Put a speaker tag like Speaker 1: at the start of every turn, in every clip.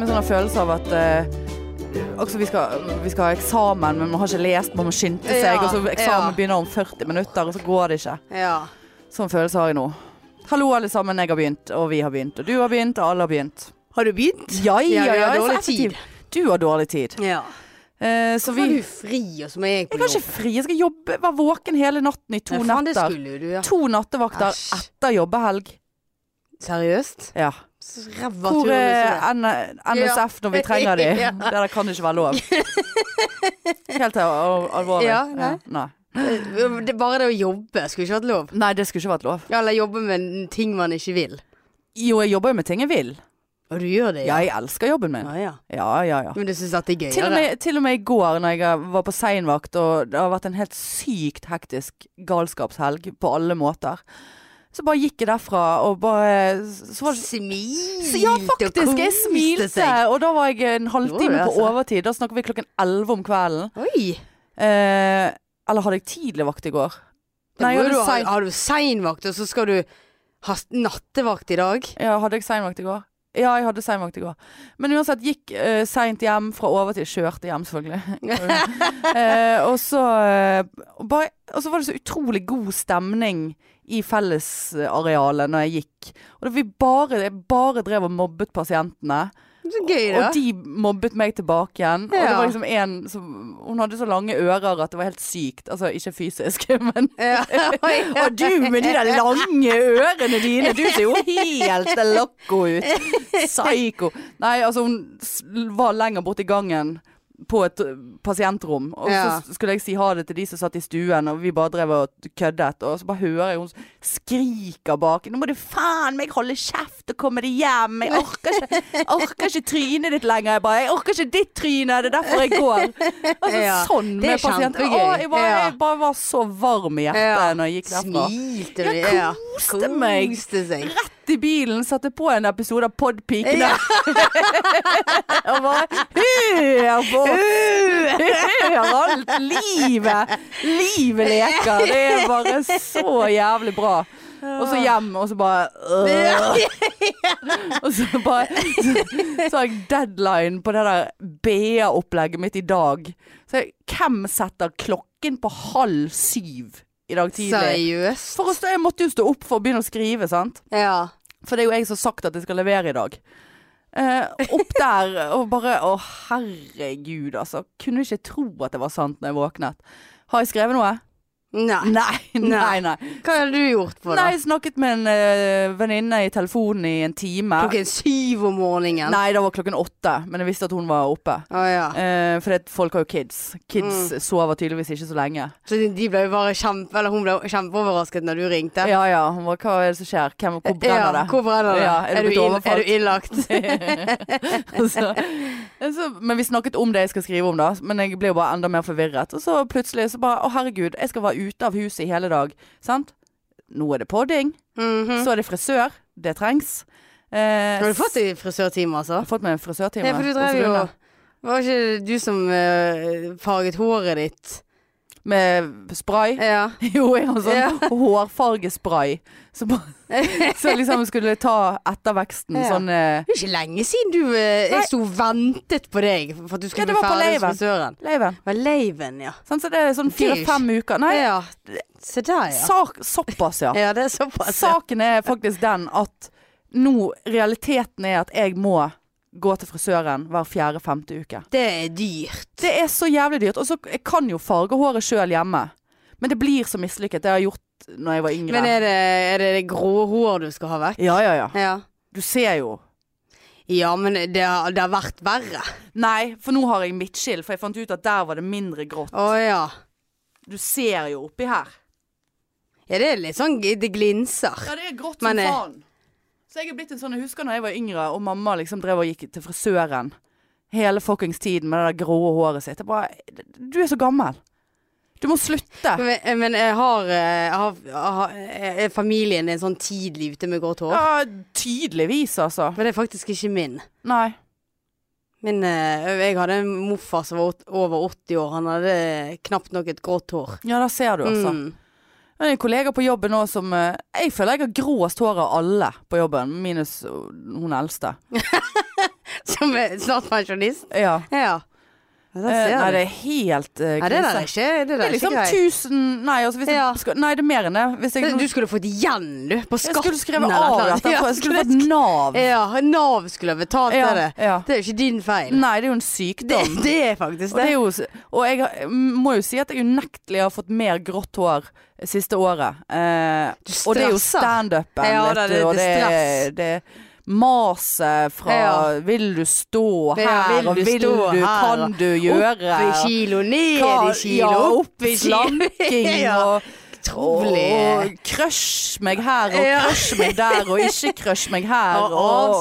Speaker 1: sånn følelse av at eh, også vi, skal, vi skal ha eksamen, men man har ikke lest, man må skynde seg.
Speaker 2: Ja,
Speaker 1: og så eksamen
Speaker 2: ja.
Speaker 1: begynner om 40 minutter, og så går det ikke.
Speaker 2: Ja.
Speaker 1: Sånn følelse har jeg nå. Hallo, alle sammen. Jeg har begynt, og vi har begynt, og du har begynt, og alle har begynt.
Speaker 2: Har du begynt?
Speaker 1: Ja, ja,
Speaker 2: Ja, vi
Speaker 1: ja.
Speaker 2: har
Speaker 1: jeg er så
Speaker 2: dårlig
Speaker 1: effektiv. Du har dårlig tid.
Speaker 2: Ja.
Speaker 1: Eh, så
Speaker 2: Så
Speaker 1: vi
Speaker 2: er du fri, og så må jeg på
Speaker 1: Jeg har ikke fri. Jeg skal jobbe, være våken hele natten i to
Speaker 2: Nei, faen, det
Speaker 1: netter.
Speaker 2: skulle jo du, ja.
Speaker 1: To nattevakter
Speaker 2: Æsj.
Speaker 1: etter jobbehelg.
Speaker 2: Seriøst?
Speaker 1: Ja.
Speaker 2: Så Ræva
Speaker 1: Hvor
Speaker 2: tur.
Speaker 1: er N NSF når vi trenger de?
Speaker 2: Ja.
Speaker 1: Det der kan ikke være lov. Helt al- alvorlig.
Speaker 2: Ja, nei.
Speaker 1: nei.
Speaker 2: eh, øh, Det er bare det å jobbe skulle ikke vært lov.
Speaker 1: Nei, det skulle ikke vært lov.
Speaker 2: Ja, Eller jobbe med ting man ikke vil.
Speaker 1: Jo, jeg jobber jo med ting jeg vil.
Speaker 2: Og du gjør det,
Speaker 1: Ja, jeg elsker jobben min.
Speaker 2: ja, ja.
Speaker 1: Ja, ja, ja.
Speaker 2: Men du syns at det er
Speaker 1: Til og,
Speaker 2: gøyere?
Speaker 1: med, til og med i går når jeg var på seinvakt, og det har vært en helt sykt hektisk galskapshelg på alle måter, så bare gikk jeg derfra og bare Så var det
Speaker 2: Smilt
Speaker 1: Så ja, faktisk. Jeg
Speaker 2: koste
Speaker 1: smilte.
Speaker 2: seg.
Speaker 1: Og da var jeg en halvtime
Speaker 2: Gjorde du,
Speaker 1: på
Speaker 2: altså?
Speaker 1: overtid. Da snakker vi klokken 11 om kvelden.
Speaker 2: Oi.
Speaker 1: Eh, eller hadde jeg tidlig vakt i går?
Speaker 2: Da
Speaker 1: Nei,
Speaker 2: må
Speaker 1: jeg
Speaker 2: du
Speaker 1: hadde,
Speaker 2: ha,
Speaker 1: sein,
Speaker 2: har du seinvakt, og så skal du ha s- nattevakt i dag?
Speaker 1: ja, hadde jeg seinvakt i går? Ja, jeg hadde seinvakt i går. Men uansett, gikk eh, seint hjem fra overtid. Kjørte hjem, selvfølgelig. eh, og, så, eh, og bare, og så var det så utrolig god stemning i fellesarealet når jeg gikk. Og da vi bare, jeg bare drev og mobbet pasientene.
Speaker 2: Så gøy, da.
Speaker 1: Og de mobbet meg tilbake igjen. Og det
Speaker 2: Ja.
Speaker 1: var liksom en som Hun hadde så lange ører at det var helt sykt. Altså ikke fysisk, men
Speaker 2: Ja.
Speaker 1: Og du med de der lange ørene dine! Du ser jo helt loco ut. Psycho. Nei, altså hun s- var lenger borti gangen. På et ø, pasientrom. Og
Speaker 2: Ja.
Speaker 1: så skulle jeg si ha det til de som satt i stuen, og vi bare drev og køddet. Og så bare hører jeg hun skriker bak. 'Nå må du faen meg holde kjeft og komme deg hjem! Jeg orker ikke, jeg orker ikke trynet ditt lenger!' Jeg bare 'Jeg orker ikke ditt tryne! Det er derfor jeg går!' Altså
Speaker 2: Ja,
Speaker 1: sånn
Speaker 2: det er
Speaker 1: med pasienter.
Speaker 2: kjempegøy.
Speaker 1: Å, jeg, bare,
Speaker 2: Ja.
Speaker 1: jeg bare var så varm i hjertet
Speaker 2: Ja.
Speaker 1: når jeg gikk derfra.
Speaker 2: Smilte du?
Speaker 1: Jeg
Speaker 2: Ja.
Speaker 1: koste meg.
Speaker 2: Koste seg.
Speaker 1: Rett i bilen satte på en episode av Podpikene. og bare Hør på! Hør alt! Livet! Livet leker! Det er bare så jævlig bra. Og så hjem, og så bare øh. Og så bare så, så har jeg deadline på det der BA-opplegget mitt i dag. Så jeg, hvem setter klokken på halv syv i dag tidlig?
Speaker 2: Seriøst?
Speaker 1: For å stå, jeg måtte jo stå opp for å begynne å skrive, sant?
Speaker 2: Ja.
Speaker 1: For det er jo jeg som har sagt at jeg skal levere i dag. Eh, opp der og bare Å, herregud, altså. Kunne ikke tro at det var sant når jeg våknet. Har jeg skrevet noe?
Speaker 2: Nei.
Speaker 1: Nei, nei, nei.
Speaker 2: Hva har du gjort
Speaker 1: Nei,
Speaker 2: på da?
Speaker 1: jeg snakket med en eh, venninne i telefonen i en time.
Speaker 2: Klokken syv om morgenen?
Speaker 1: Nei, det var klokken åtte, men jeg visste at hun var oppe.
Speaker 2: Å ja.
Speaker 1: Eh, for det, folk har jo kids. Kids
Speaker 2: Mm.
Speaker 1: sover tydeligvis ikke så lenge.
Speaker 2: Så de- de ble jo bare kjempe... Eller hun ble kjempeoverrasket når du ringte?
Speaker 1: Ja ja, hun var, hva er det som skjer? Hvem, hvor brenner det?
Speaker 2: Hvor brenner det?
Speaker 1: Ja, er du
Speaker 2: er, du
Speaker 1: blitt
Speaker 2: ill,
Speaker 1: overfalt?
Speaker 2: er du innlagt?
Speaker 1: Og så, så, men vi snakket om det jeg skal skrive om, da. Men jeg ble jo bare enda mer forvirret. Og så plutselig så bare Å, herregud, jeg skal være ute av huset i hele dag. Sant? Nå er det podding.
Speaker 2: Mhm.
Speaker 1: Så er det frisør. Det trengs. Eh,
Speaker 2: Har du fått deg frisørtime, altså?
Speaker 1: s- fått meg en frisørtime.
Speaker 2: Nei, for du drev
Speaker 1: hos
Speaker 2: jo
Speaker 1: Luna.
Speaker 2: Var ikke du som eh, farget håret ditt?
Speaker 1: Med spray.
Speaker 2: Ja.
Speaker 1: Jo, jeg har sånn
Speaker 2: Ja.
Speaker 1: hårfargespray. Så, bare- så liksom skulle ta etterveksten
Speaker 2: Ja.
Speaker 1: sånn eh,
Speaker 2: Det er ikke lenge siden du eh,
Speaker 1: Nei.
Speaker 2: Jeg sto og ventet på deg for at du
Speaker 1: Ja,
Speaker 2: skulle
Speaker 1: det
Speaker 2: bli
Speaker 1: var på
Speaker 2: ferdig hos
Speaker 1: leiven.
Speaker 2: frisøren.
Speaker 1: Leiven.
Speaker 2: Det var leiven, ja.
Speaker 1: Sånn, så det er sånn
Speaker 2: Det er jo
Speaker 1: fire-fem uker. Nei,
Speaker 2: ja. Se der, ja.
Speaker 1: sak, såpass, ja.
Speaker 2: Ja, det er såpass. ja.
Speaker 1: Saken er faktisk den at nå Realiteten er at jeg må gå til frisøren hver fjerde-femte uke.
Speaker 2: Det er dyrt.
Speaker 1: Det er så jævlig dyrt. Og så jeg kan jo farge håret sjøl hjemme. Men det blir så mislykket. Det har jeg gjort når jeg var yngre.
Speaker 2: Men eh, er det, er det det grå hår du skal ha vekk?
Speaker 1: Ja, ja, ja.
Speaker 2: Ja.
Speaker 1: Du ser jo.
Speaker 2: Ja, men det har, det har vært verre.
Speaker 1: Nei, for nå har jeg midtskill, for jeg fant ut at der var det mindre grått.
Speaker 2: Å ja.
Speaker 1: Du ser jo oppi her.
Speaker 2: Ja, det er litt sånn g- Det glinser.
Speaker 1: Ja, det er grått
Speaker 2: Men,
Speaker 1: som
Speaker 2: eh,
Speaker 1: faen. Så jeg er blitt en sånn Jeg husker når jeg var yngre og mamma liksom drev og gikk til frisøren hele fuckings tiden med det der grå håret sitt. Jeg bare Du er så gammel. Du må slutte.
Speaker 2: Men, men jeg har, eh, jeg har, jeg har jeg- Er familien din sånn tidlig ute med grått hår?
Speaker 1: Ja, tydeligvis, altså.
Speaker 2: For det er faktisk ikke min.
Speaker 1: Nei.
Speaker 2: Min, eh, jeg hadde en morfar som var åt- over 80 år. Han hadde eh, knapt nok et grått hår.
Speaker 1: Ja, da ser du, altså.
Speaker 2: Mm.
Speaker 1: Jeg har en kollega på jobben nå som eh, Jeg eh, føler jeg har gråest hår av alle på jobben, minus uh, hun eldste.
Speaker 2: Som er snart pensjonist.
Speaker 1: Ja.
Speaker 2: Ja. ja der
Speaker 1: Eh,
Speaker 2: ser
Speaker 1: nei,
Speaker 2: du.
Speaker 1: det er helt eh,
Speaker 2: Nei, det der
Speaker 1: krise.
Speaker 2: er ikke Det der
Speaker 1: Det
Speaker 2: er
Speaker 1: er liksom
Speaker 2: ikke greit.
Speaker 1: 1000 Nei, altså hvis
Speaker 2: Ja.
Speaker 1: jeg skal, nei, det er mer enn det. Hvis jeg,
Speaker 2: Du skulle fått igjen, du. På
Speaker 1: jeg
Speaker 2: skatten.
Speaker 1: skulle skrevet
Speaker 2: eller
Speaker 1: av
Speaker 2: noe.
Speaker 1: dette.
Speaker 2: Ja,
Speaker 1: Jeg skulle fått Nav.
Speaker 2: Ja, Nav skulle ha betalt
Speaker 1: Ja,
Speaker 2: det.
Speaker 1: ja.
Speaker 2: Det er jo ikke din feil.
Speaker 1: Nei, det er jo en
Speaker 2: Det,
Speaker 1: sykdom.
Speaker 2: det er faktisk
Speaker 1: Og, det
Speaker 2: det.
Speaker 1: er jo, s- og jeg har- må jo si at jeg unektelig har fått mer grått hår siste året. Eh,
Speaker 2: Du
Speaker 1: og det er jo
Speaker 2: stresser.
Speaker 1: standupen,
Speaker 2: Ja,
Speaker 1: vet
Speaker 2: da,
Speaker 1: du.
Speaker 2: det-
Speaker 1: Og
Speaker 2: det
Speaker 1: det,
Speaker 2: stress.
Speaker 1: er- det er maset fra
Speaker 2: Ja.
Speaker 1: 'vil du stå
Speaker 2: Ja,
Speaker 1: her',
Speaker 2: vil
Speaker 1: og
Speaker 2: du
Speaker 1: 'vil du,
Speaker 2: stå her,
Speaker 1: kan du gjøre'
Speaker 2: Opp i kilo, ned
Speaker 1: Hva-
Speaker 2: i kilo.
Speaker 1: ja,
Speaker 2: opp i kilo.
Speaker 1: slanking
Speaker 2: ja,
Speaker 1: og
Speaker 2: Utrolig.
Speaker 1: Og crush meg her og
Speaker 2: Ja.
Speaker 1: crush meg der og ikke crush meg her.
Speaker 2: Og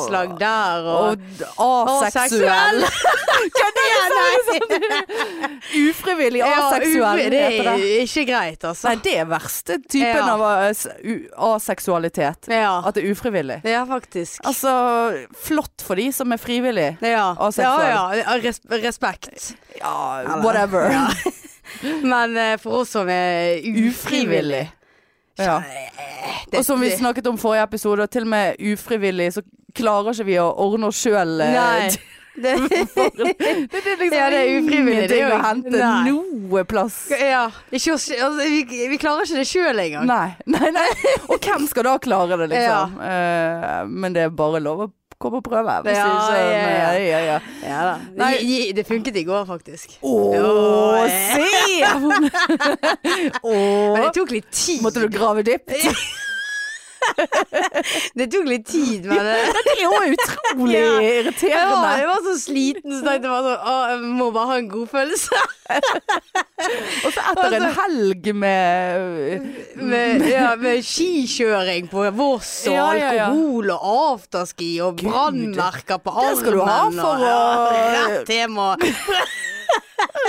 Speaker 2: avslag der og,
Speaker 1: Og d- aseksuell.
Speaker 2: Ja, nei.
Speaker 1: liksom sånn Ufrivillig aseksuell
Speaker 2: Ja, u- det
Speaker 1: heter
Speaker 2: er
Speaker 1: det.
Speaker 2: ikke greit, altså.
Speaker 1: Nei, det er verste typen
Speaker 2: Ja.
Speaker 1: av eh, s- u- aseksualitet.
Speaker 2: Ja,
Speaker 1: At det er ufrivillig.
Speaker 2: ja faktisk.
Speaker 1: Altså, flott for de som er frivillig.
Speaker 2: ja.
Speaker 1: aseksuell.
Speaker 2: Ja, ja. Res respekt.
Speaker 1: Ja,
Speaker 2: Eller-
Speaker 1: whatever.
Speaker 2: Ja. Men eh, for oss som er ufrivillig
Speaker 1: Ufrivillig. Ja. Og som vi snakket om forrige episode, og til og med ufrivillig, så klarer ikke vi å ordne oss eh, sjøl.
Speaker 2: Nei. Det,
Speaker 1: Det er liksom
Speaker 2: Ja, det er ufrivillig, det
Speaker 1: ingenting
Speaker 2: er jo-
Speaker 1: å hente
Speaker 2: Nei.
Speaker 1: noe plass.
Speaker 2: ja. Ikke oss, altså, vi, vi klarer ikke det sjøl engang.
Speaker 1: Nei, nei, nei. Og hvem skal da klare det, liksom? Eh, men det er bare lov å komme og prøve. Hvis ikke,
Speaker 2: Ja, ja, ja.
Speaker 1: Nei, ja, ja.
Speaker 2: Ja, da.
Speaker 1: Nei.
Speaker 2: Gi- gi- Det funket i går, faktisk.
Speaker 1: Å,
Speaker 2: Ja, ja.
Speaker 1: se!
Speaker 2: Men det
Speaker 1: Å,
Speaker 2: tok litt tid.
Speaker 1: måtte du grave dypt?
Speaker 2: Det tok litt tid, men eh,
Speaker 1: Det er jo utrolig
Speaker 2: Ja. jeg, var,
Speaker 1: irriterende.
Speaker 2: jeg var så sliten, så tenkte jeg bare sånn Å, jeg må bare ha en god følelse.
Speaker 1: Og så etter en
Speaker 2: Altså-
Speaker 1: helg med
Speaker 2: Med, ja, med skikjøring på Voss og
Speaker 1: Ja, ja, ja.
Speaker 2: alkohol og afterski og
Speaker 1: Gud.
Speaker 2: brannmerker på armen.
Speaker 1: Det skal du ha for
Speaker 2: og, ja,
Speaker 1: å-
Speaker 2: Rett tema.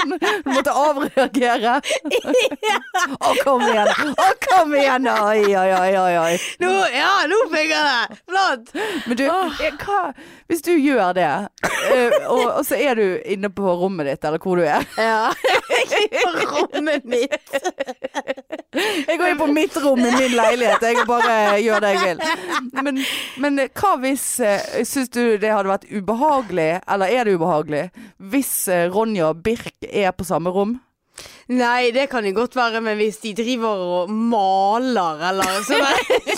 Speaker 1: Du måtte avreagere. Å, kom igjen. Å, kom igjen. Oi, oi, oi, oi, oi.
Speaker 2: Nå, ja, nå fikk jeg det! Flott!
Speaker 1: Men du, eh, hva, hvis du gjør det, eh, og, og så er du inne på rommet ditt, eller hvor du er.
Speaker 2: Ja. På rommet mitt.
Speaker 1: Jeg går inn på mitt rom i min leilighet. Jeg bare gjør det jeg vil. Men, men hva hvis Syns du det hadde vært ubehagelig, eller er det ubehagelig, hvis eh, Ronja og Birk er på samme rom?
Speaker 2: Nei, det kan jo godt være, men hvis de driver og maler eller sånne,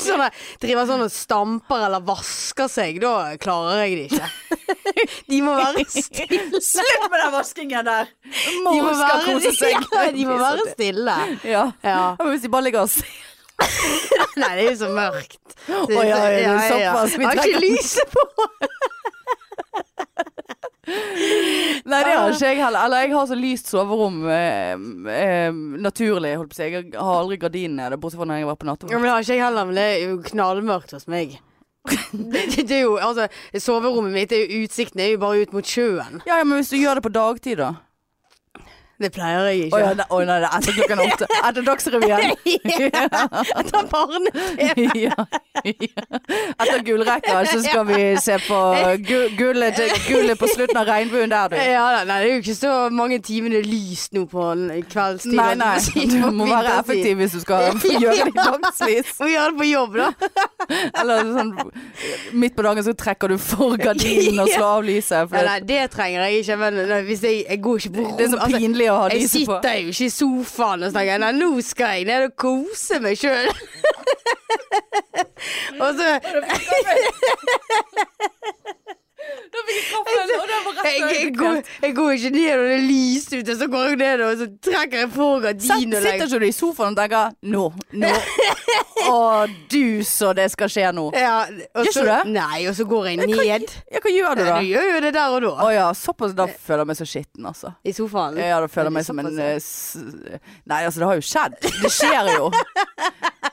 Speaker 2: sånne, driver sånn og stamper eller vasker seg, da klarer jeg det ikke. De må være stille.
Speaker 1: Slutt med den vaskingen der!
Speaker 2: De
Speaker 1: Mor
Speaker 2: må
Speaker 1: skal kose
Speaker 2: være,
Speaker 1: seg.
Speaker 2: ja, de må være stille.
Speaker 1: Ja.
Speaker 2: Ja.
Speaker 1: Ja, Men hvis de bare ligger og ser
Speaker 2: Nei, det er jo så mørkt.
Speaker 1: Å ja, er det såpass? Vi
Speaker 2: Jeg har ikke
Speaker 1: trenger-
Speaker 2: lyset på.
Speaker 1: Nei, det har ikke jeg heller. Eller jeg har så lyst soverom eh, eh, naturlig, holdt på å si. Jeg har aldri gardinene nede, bortsett fra når jeg var på
Speaker 2: Ja,
Speaker 1: nattevakt.
Speaker 2: men det har ikke jeg heller, men det er jo knallmørkt hos meg. Det, det, det er jo, altså, Soverommet mitt er jo utsikten er jo bare ut mot sjøen.
Speaker 1: Ja, ja, men hvis du gjør det på dagtid, da?
Speaker 2: Det pleier
Speaker 1: Å
Speaker 2: jeg ikke.
Speaker 1: ja, ne- å, nei, det er etter klokken åtte. Etter Dagsrevyen.
Speaker 2: Etter barne-TV.
Speaker 1: ja. Etter gullrekka så skal vi se på gu- gullet til- gullet på slutten av regnbuen der, du.
Speaker 2: Ja, da, nei, det er jo ikke så mange timene lyst nå på n- kveldstid.
Speaker 1: Nei,
Speaker 2: holdt
Speaker 1: nei.
Speaker 2: jeg på å si,
Speaker 1: Du
Speaker 2: på
Speaker 1: må være
Speaker 2: vinterstid.
Speaker 1: effektiv hvis du skal gjøre det i dagsvis.
Speaker 2: Må gjøre det på jobb, da.
Speaker 1: Eller sånn midt på dagen så trekker du for gardinen og slår av lyset.
Speaker 2: Nei,
Speaker 1: For det,
Speaker 2: nei, det trenger jeg ikke. Men nei, hvis jeg, jeg går ikke på rom
Speaker 1: det er så
Speaker 2: altså,
Speaker 1: pinlig å ha
Speaker 2: Jeg
Speaker 1: lyset på.
Speaker 2: sitter jo ikke i sofaen og tenker Nei, nå skal jeg ned og kose meg sjøl. og så
Speaker 1: Da fikk jeg kaffen, og den var
Speaker 2: jeg, jeg, går, jeg går ikke ned og det er lyst ute, så går jeg ned og så trekker jeg for gardinen og
Speaker 1: Sitter
Speaker 2: legger
Speaker 1: ikke du i sofaen og tenker 'nå, nå'. Å du, så det skal skje nå.
Speaker 2: ja, og
Speaker 1: Gjør ikke
Speaker 2: så,
Speaker 1: du det?
Speaker 2: Nei, og så går jeg ned.
Speaker 1: Ja, hva gjør du
Speaker 2: Nei,
Speaker 1: da?
Speaker 2: Du gjør jo det der og
Speaker 1: Å
Speaker 2: da.
Speaker 1: ja, såpass. Da føler jeg meg så skitten, altså.
Speaker 2: I sofaen.
Speaker 1: Ja, da føler jeg meg som en eh, s- Nei, altså, det har jo skjedd. Det skjer jo.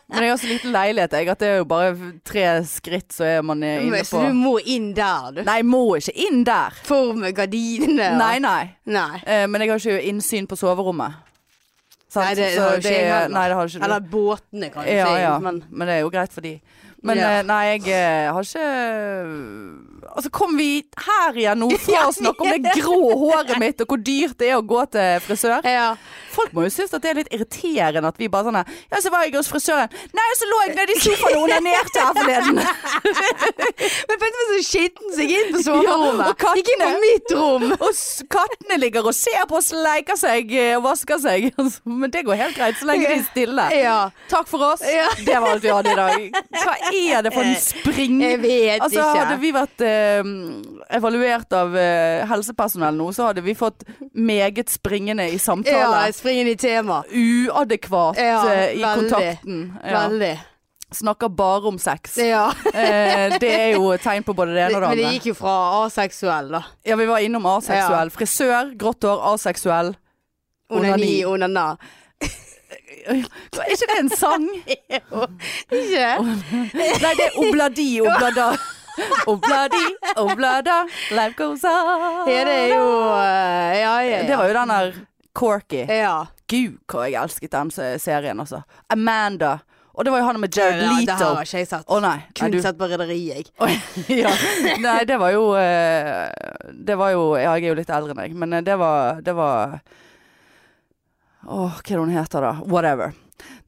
Speaker 1: Men jeg har så liten leilighet, jeg, at det er jo bare tre skritt, så er man eh, inne
Speaker 2: Så
Speaker 1: på
Speaker 2: du må inn der, du.
Speaker 1: Nei, må ikke inn der.
Speaker 2: For med gardinene. og-
Speaker 1: Nei, nei.
Speaker 2: Nei.
Speaker 1: Eh, men jeg har ikke innsyn på soverommet. Sant?
Speaker 2: Nei, det
Speaker 1: Så
Speaker 2: har jo ikke jeg heller.
Speaker 1: Nei, det har ikke du.
Speaker 2: Eller båtene, kan du
Speaker 1: ja,
Speaker 2: si.
Speaker 1: ja.
Speaker 2: Men
Speaker 1: Men det er jo greit for de. Men
Speaker 2: Ja.
Speaker 1: eh, nei, jeg eh, har ikke Altså, kom vi her igjen nå fra å snakke om det grå håret mitt og hvor dyrt det er å gå til frisør?
Speaker 2: Ja.
Speaker 1: Folk må jo synes at det er litt irriterende at vi bare sånn her Ja, så var jeg hos frisøren. Nei, så lå jeg nede i sofaen og onanerte her forleden.
Speaker 2: Men vet du hva som skitten seg inn på soverommet?
Speaker 1: Ja, og kattene.
Speaker 2: Gikk inn på mitt rom.
Speaker 1: Og s- kattene ligger og ser på oss, leker seg eh, og vasker seg. Altså, Men det går helt greit så lenge de er stille.
Speaker 2: Ja.
Speaker 1: Takk for oss.
Speaker 2: Ja. Eh,
Speaker 1: Det var alt vi hadde i dag. Hva er det for en spring?
Speaker 2: Jeg vet
Speaker 1: Altså,
Speaker 2: ikke.
Speaker 1: hadde vi vært eh, evaluert av eh, helsepersonell nå, så hadde vi fått meget springende i
Speaker 2: Ja,
Speaker 1: samtale.
Speaker 2: jeg springer inn i tema.
Speaker 1: Uadekvat
Speaker 2: Ja,
Speaker 1: eh, i
Speaker 2: veldig.
Speaker 1: kontakten. Ja.
Speaker 2: Veldig.
Speaker 1: Snakker bare om sex.
Speaker 2: Ja.
Speaker 1: Eh, det er jo et tegn på både det ene og det
Speaker 2: Men det
Speaker 1: andre.
Speaker 2: gikk jo fra aseksuell, da.
Speaker 1: Ja, vi var innom aseksuell. Frisør, grått hår, aseksuell.
Speaker 2: Onani,
Speaker 1: Onani.
Speaker 2: onana.
Speaker 1: Er ikke det en sang?
Speaker 2: Ikke?
Speaker 1: Nei, det er obladi, oblada. Obladi, oblada, life goes on.
Speaker 2: Ja, det er jo eh, Ja, ja.
Speaker 1: Det var jo den der Corky.
Speaker 2: ja.
Speaker 1: Gud, hvor jeg elsket den se- serien, altså. Amanda. Og det var jo han med
Speaker 2: Ja,
Speaker 1: Jared
Speaker 2: Det her
Speaker 1: Leto.
Speaker 2: har ikke jeg sett.
Speaker 1: Å nei. nei,
Speaker 2: Kun
Speaker 1: du,
Speaker 2: sett på Rederiet, jeg.
Speaker 1: Oi, ja. nei, det var jo eh, Det var jo Ja, jeg er jo litt eldre enn deg, men eh, det var Det var Åh, hva er det hun heter da? Whatever.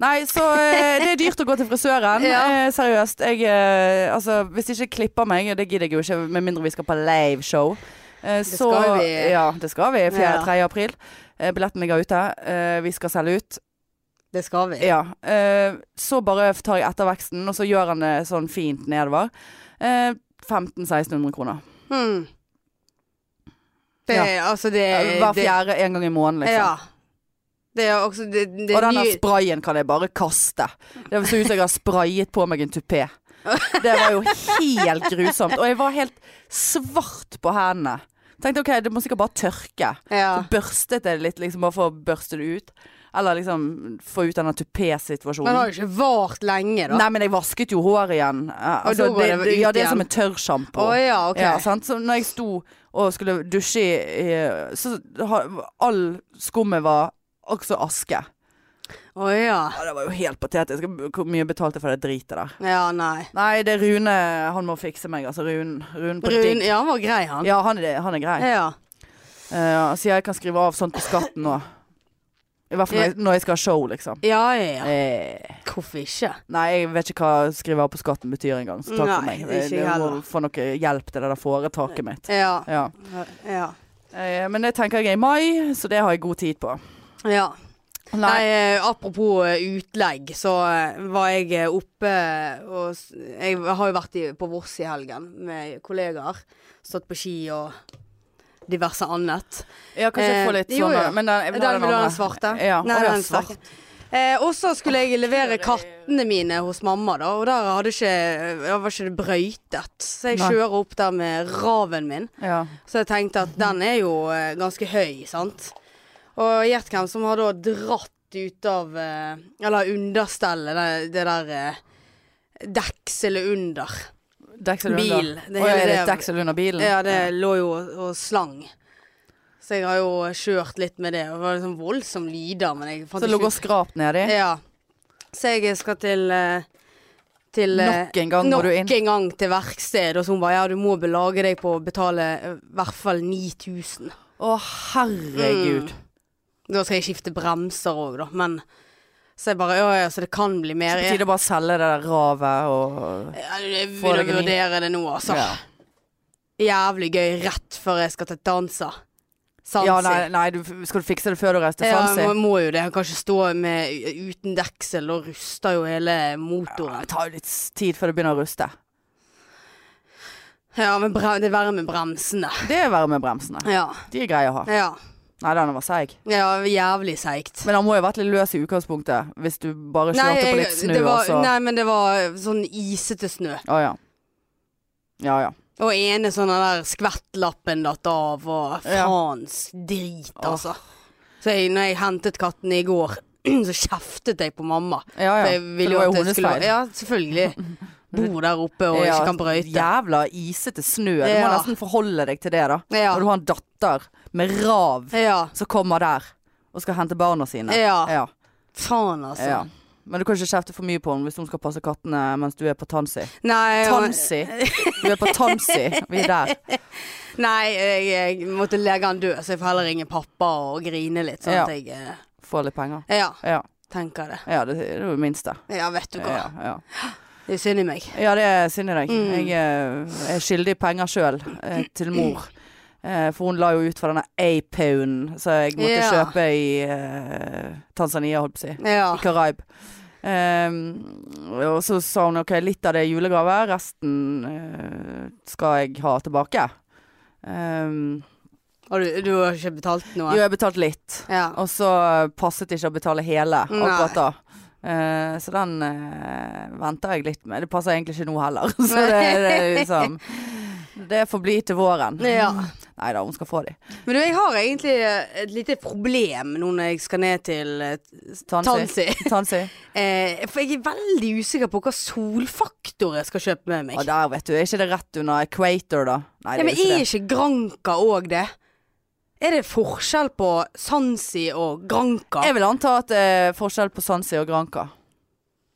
Speaker 1: Nei, så eh, det er dyrt å gå til frisøren.
Speaker 2: Ja.
Speaker 1: Eh, seriøst. Jeg eh, Altså, hvis ikke jeg klipper meg, og det gidder jeg jo ikke, med mindre vi skal på liveshow. Eh, så,
Speaker 2: skal vi.
Speaker 1: Ja, det skal vi. 4.
Speaker 2: Ja.
Speaker 1: 3. april. Eh, billetten ligger ute. Eh, vi skal selge ut.
Speaker 2: Det skal vi.
Speaker 1: Ja. eh, så bare tar jeg etterveksten, og så gjør han det sånn fint nedover. Eh, 1500-1600 kroner.
Speaker 2: Hmm. Det
Speaker 1: Ja.
Speaker 2: er altså det,
Speaker 1: Eh, Hver
Speaker 2: det
Speaker 1: fjerde en gang i måneden, liksom.
Speaker 2: Ja. Det er også det, det
Speaker 1: og
Speaker 2: er
Speaker 1: den der
Speaker 2: nye
Speaker 1: sprayen kan jeg bare kaste. Det så ut som jeg har sprayet på meg en tupé. Det var jo helt grusomt. Og jeg var helt svart på hendene. Tenkte ok, det må sikkert bare tørke.
Speaker 2: ja.
Speaker 1: Så børstet jeg det litt, liksom bare for å børste det ut. Eller liksom få ut denne
Speaker 2: Men
Speaker 1: tupé-situasjonen.
Speaker 2: har jo ikke vart lenge, da.
Speaker 1: Nei, men jeg vasket jo håret igjen. Eh, Altså,
Speaker 2: da går
Speaker 1: det,
Speaker 2: det
Speaker 1: det,
Speaker 2: ut
Speaker 1: ja, det
Speaker 2: igjen.
Speaker 1: er som en tørrsjampo.
Speaker 2: Å ja, ok.
Speaker 1: Ja, altså. sant? Så når jeg sto og skulle dusje i, i Så ha- all skummet var også aske.
Speaker 2: Å ja.
Speaker 1: Ja, det var jo helt patetisk. Hvor mye betalte jeg for det dritet der?
Speaker 2: Ja, nei.
Speaker 1: Nei, det er Rune. Han må fikse meg, altså. Rune, Rune på
Speaker 2: Brun
Speaker 1: digg.
Speaker 2: Ja, han var grei, han.
Speaker 1: Ja, han er, han er grei.
Speaker 2: Ja.
Speaker 1: Uh, sier jeg kan skrive av sånt på skatten nå. I hvert fall når jeg, når jeg skal ha show, liksom.
Speaker 2: Ja, ja, ja.
Speaker 1: Eh,
Speaker 2: Hvorfor ikke?
Speaker 1: nei, jeg vet ikke hva skrive av på skatten betyr engang, så takk for
Speaker 2: Nei,
Speaker 1: meg.
Speaker 2: ikke
Speaker 1: Jeg jeg må
Speaker 2: heller.
Speaker 1: få noe hjelp til det der foretaket mitt.
Speaker 2: Ja.
Speaker 1: Ja.
Speaker 2: Ja.
Speaker 1: Eh, men det tenker jeg er i mai, så det har jeg god tid på.
Speaker 2: ja.
Speaker 1: Nei,
Speaker 2: Nei, eh, apropos eh, utlegg, så eh, var jeg eh, oppe og s- Jeg har jo vært i, på Voss i helgen med kollegaer. Stått på ski og diverse annet.
Speaker 1: ja, kanskje jeg får litt
Speaker 2: Eh,
Speaker 1: sånn
Speaker 2: jo, ja.
Speaker 1: Men den, jeg vil ha
Speaker 2: Den
Speaker 1: den
Speaker 2: vil du ha
Speaker 1: andre.
Speaker 2: den svarte?
Speaker 1: Ja,
Speaker 2: Nei,
Speaker 1: å, ja,
Speaker 2: den
Speaker 1: svart.
Speaker 2: svarte. Eh, og så skulle jeg levere kattene mine hos mamma, da, og der hadde ikke, ja, var ikke det brøytet. Så jeg
Speaker 1: Nei.
Speaker 2: kjører opp der med raven min.
Speaker 1: Ja.
Speaker 2: Så jeg tenkte at den er jo eh, ganske høy, sant. Og gjett hvem som har da dratt ut av eh, Eller understellet, det, det der eh, dekselet under.
Speaker 1: Deksel under.
Speaker 2: Bil.
Speaker 1: Å,
Speaker 2: Det
Speaker 1: ja,
Speaker 2: hele
Speaker 1: er det
Speaker 2: det-
Speaker 1: deksel under bilen?
Speaker 2: Ja, det lå jo og, og slang. Så jeg har jo kjørt litt med det. og Det var liksom voldsom lyder, men jeg fant
Speaker 1: Så det lå
Speaker 2: ikke
Speaker 1: og skrap nedi?
Speaker 2: Ja. Så jeg skal til eh, til, eh,
Speaker 1: Nok en gang må
Speaker 2: nok
Speaker 1: du inn.
Speaker 2: en gang til verksted, og så hun bare ja, du må belage deg på å betale eh, i hvert fall 9000.
Speaker 1: Å, herregud.
Speaker 2: Mm. Da skal jeg skifte bremser òg, da. Men så jeg bare ja, ja, så det kan bli
Speaker 1: Så
Speaker 2: mer.
Speaker 1: på
Speaker 2: Jeg,
Speaker 1: tide å bare selge det der ravet og
Speaker 2: jeg, jeg
Speaker 1: Får
Speaker 2: begynner
Speaker 1: deg en
Speaker 2: å
Speaker 1: ny.
Speaker 2: vurdere det nå, altså.
Speaker 1: Ja.
Speaker 2: Jævlig gøy rett før jeg skal til danser. Sansi.
Speaker 1: Ja, nei, nei du, skal du fikse det før du reiser til
Speaker 2: Ja,
Speaker 1: Fancy?
Speaker 2: man må jo det. Jeg kan ikke stå med, uten deksel, og ruster jo hele motoren.
Speaker 1: det tar jo litt s- tid før det begynner å ruste.
Speaker 2: Ja, men bre det er verre med bremsene.
Speaker 1: Det er verre med bremsene.
Speaker 2: Ja.
Speaker 1: De er greie å ha.
Speaker 2: Ja.
Speaker 1: Nei, den var seig.
Speaker 2: Ja, jævlig seigt.
Speaker 1: Men han må jo ha vært litt løs i utgangspunktet, hvis du bare kjørte på litt snø,
Speaker 2: det var,
Speaker 1: og så
Speaker 2: nei, men det var sånn isete snø.
Speaker 1: Å ja. Ja ja.
Speaker 2: Og ene sånn den der skvettlappen datt av, og
Speaker 1: Ja.
Speaker 2: faens drit,
Speaker 1: Åh.
Speaker 2: altså. Så jeg, når jeg hentet kattene i går, så kjeftet jeg på mamma.
Speaker 1: ja,
Speaker 2: For
Speaker 1: ja.
Speaker 2: jeg ville
Speaker 1: For
Speaker 2: jo
Speaker 1: det
Speaker 2: at
Speaker 1: var jo
Speaker 2: det skulle
Speaker 1: hundespeil.
Speaker 2: Ja, selvfølgelig. Bor der oppe og
Speaker 1: Ja,
Speaker 2: ikke kan brøyte.
Speaker 1: Jævla isete snø. Du må
Speaker 2: Ja.
Speaker 1: nesten forholde deg til det, da.
Speaker 2: Ja.
Speaker 1: Når du har en datter med rav
Speaker 2: Ja.
Speaker 1: som kommer der og skal hente barna sine.
Speaker 2: Ja.
Speaker 1: ja.
Speaker 2: Faen, altså.
Speaker 1: Ja. Men du kan ikke kjefte for mye på henne hvis hun skal passe kattene mens du er på Tansi.
Speaker 2: Nei, og-
Speaker 1: Tansi! Du er på Tansi. Vi er der.
Speaker 2: nei jeg, jeg måtte legge han død, så jeg får heller ringe pappa og grine litt. Sånn
Speaker 1: Ja.
Speaker 2: at jeg eh,
Speaker 1: Få litt penger.
Speaker 2: Ja,
Speaker 1: Ja,
Speaker 2: tenker det.
Speaker 1: ja det, det er jo det minste.
Speaker 2: Ja, vet du hva.
Speaker 1: Ja, ja.
Speaker 2: Det er synd i meg.
Speaker 1: ja det er synd i deg.
Speaker 2: Mm.
Speaker 1: Jeg eh, er skyldig penger sjøl til mor. Eh, For hun la jo ut for denne A-pound som jeg måtte
Speaker 2: Ja.
Speaker 1: kjøpe i eh, Tanzania, holdt på å si.
Speaker 2: Ja.
Speaker 1: i Karaib. Ehm, og så sa hun ok, litt av det er julegave, resten eh, skal jeg ha tilbake. Ehm,
Speaker 2: Og du, du har ikke betalt
Speaker 1: jo,
Speaker 2: noe?
Speaker 1: jeg betalte litt,
Speaker 2: Ja.
Speaker 1: og så passet det ikke å betale hele
Speaker 2: Nei.
Speaker 1: akkurat da. Eh, så den eh, venter jeg litt med. Det passer egentlig ikke nå heller. Så det, det er liksom Det får bli til våren.
Speaker 2: ja.
Speaker 1: Nei da, hun skal få de.
Speaker 2: Men du, jeg har egentlig eh, et lite problem nå når jeg skal ned til eh,
Speaker 1: Tansi.
Speaker 2: Tansi.
Speaker 1: Tansi.
Speaker 2: Eh, for jeg er veldig usikker på hva solfaktor jeg skal kjøpe med
Speaker 1: Og
Speaker 2: meg.
Speaker 1: der, vet du. Er ikke det rett under equator, da? Nei,
Speaker 2: ja,
Speaker 1: det er jo
Speaker 2: men
Speaker 1: ikke
Speaker 2: er
Speaker 1: det.
Speaker 2: ikke Granca òg det? Er det forskjell på Sansi og Granca?
Speaker 1: Jeg vil anta at det er forskjell på Sansi og Granca.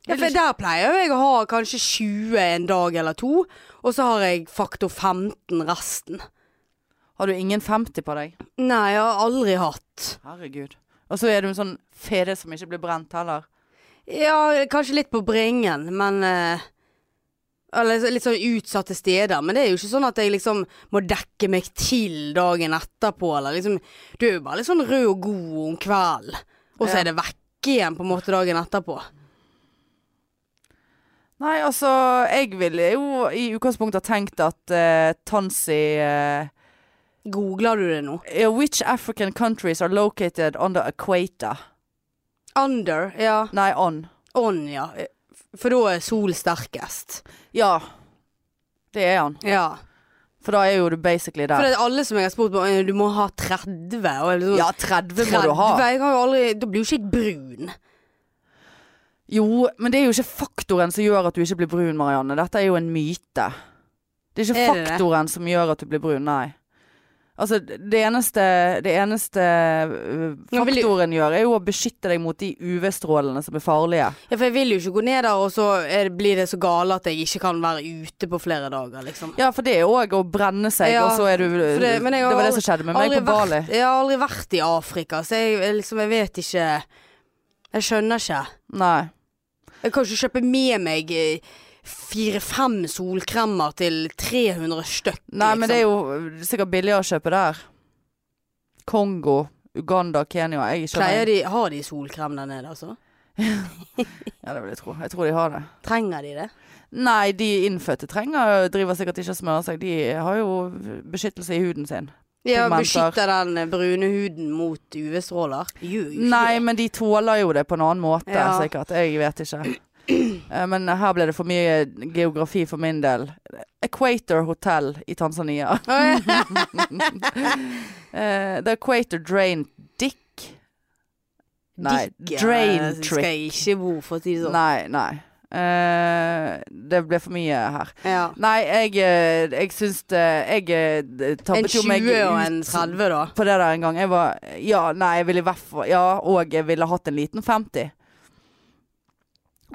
Speaker 2: Ja, for der pleier jo jeg å ha kanskje 20 en dag eller to, og så har jeg faktor 15 resten.
Speaker 1: Har du ingen 50 på deg?
Speaker 2: Nei, jeg har aldri hatt.
Speaker 1: Herregud. Og så er du en sånn fede som ikke blir brent heller.
Speaker 2: Ja, kanskje litt på bringen, men eh, Eller så- litt sånn utsatte steder. Men det er jo ikke sånn at jeg liksom må dekke meg til dagen etterpå, eller liksom Du er jo bare litt sånn rød og god om kvelden, og så
Speaker 1: Ja.
Speaker 2: er det vekke igjen på en måte dagen etterpå.
Speaker 1: Nei, altså, jeg ville jo i utgangspunktet ha tenkt at eh, Tansi eh,
Speaker 2: Googler du det nå?
Speaker 1: eh, Which African countries are located on the equator?
Speaker 2: Under, ja.
Speaker 1: Nei, on.
Speaker 2: On, ja. For da er sol sterkest.
Speaker 1: Ja. Det er han.
Speaker 2: Ja.
Speaker 1: For da er jo du basically
Speaker 2: For
Speaker 1: der.
Speaker 2: det er alle som jeg har spurt på, «Eh, du må ha 30. Og jeg er liksom,
Speaker 1: Ja, 30 må du ha.
Speaker 2: Jeg har jo aldri, da blir jo ikke jeg brun.
Speaker 1: Jo, men det er jo ikke faktoren som gjør at du ikke blir brun, Marianne. Dette er jo en myte. Det er ikke
Speaker 2: Er det det?
Speaker 1: faktoren som gjør at du blir brun, nei. Altså, det eneste, det eneste øh,
Speaker 2: Nå vil jeg-
Speaker 1: faktoren gjør, er jo å beskytte deg mot de UV-strålene som er farlige.
Speaker 2: Ja, for jeg vil jo ikke gå ned der, og så er, blir det så gale at jeg ikke kan være ute på flere dager, liksom.
Speaker 1: Ja, for det er òg å brenne seg,
Speaker 2: Ja,
Speaker 1: og så er du
Speaker 2: for
Speaker 1: det,
Speaker 2: det- men jeg har
Speaker 1: var det
Speaker 2: aldri-
Speaker 1: som skjedde med meg på Bali.
Speaker 2: vært, jeg har aldri vært i Afrika, så jeg, jeg liksom, jeg vet ikke Jeg skjønner ikke.
Speaker 1: Nei.
Speaker 2: Jeg kan ikke kjøpe med meg eh, fire-fem solkremer til 300 stykk.
Speaker 1: nei, men det er jo eh, sikkert billigere å kjøpe der. Kongo, Uganda, Kenya. Jeg skjønner
Speaker 2: liksom. Pleier de, Har de solkrem der nede, altså?
Speaker 1: Ja, det vil jeg tro. Jeg tror de har det.
Speaker 2: Trenger de det?
Speaker 1: Nei, de innfødte trenger driver sikkert ikke og smører seg. De har jo beskyttelse i huden sin.
Speaker 2: Ja,
Speaker 1: Pigmenter.
Speaker 2: Beskytter den eh, brune huden mot UV-stråler? Gjør jo ikke
Speaker 1: Nei,
Speaker 2: det.
Speaker 1: men de tåler jo det på en annen måte,
Speaker 2: Ja.
Speaker 1: sikkert. Jeg vet ikke. Eh, Men her ble det for mye geografi for min del. Equator Hotel i Tanzania. Eh, The Equator Drain Dick. Nei,
Speaker 2: Dikke,
Speaker 1: drain
Speaker 2: eh,
Speaker 1: trick.
Speaker 2: Skal jeg ikke bo, for å si det sånn.
Speaker 1: Nei, nei. Eh, det ble for mye her.
Speaker 2: Ja.
Speaker 1: Nei, jeg, eh, jeg syns det Jeg eh,
Speaker 2: En
Speaker 1: tappet jo
Speaker 2: 20
Speaker 1: meg ut
Speaker 2: og en 30, da.
Speaker 1: på det der en gang. Jeg var Ja, nei, jeg ville i hvert fall Ja, og jeg ville hatt en liten 50.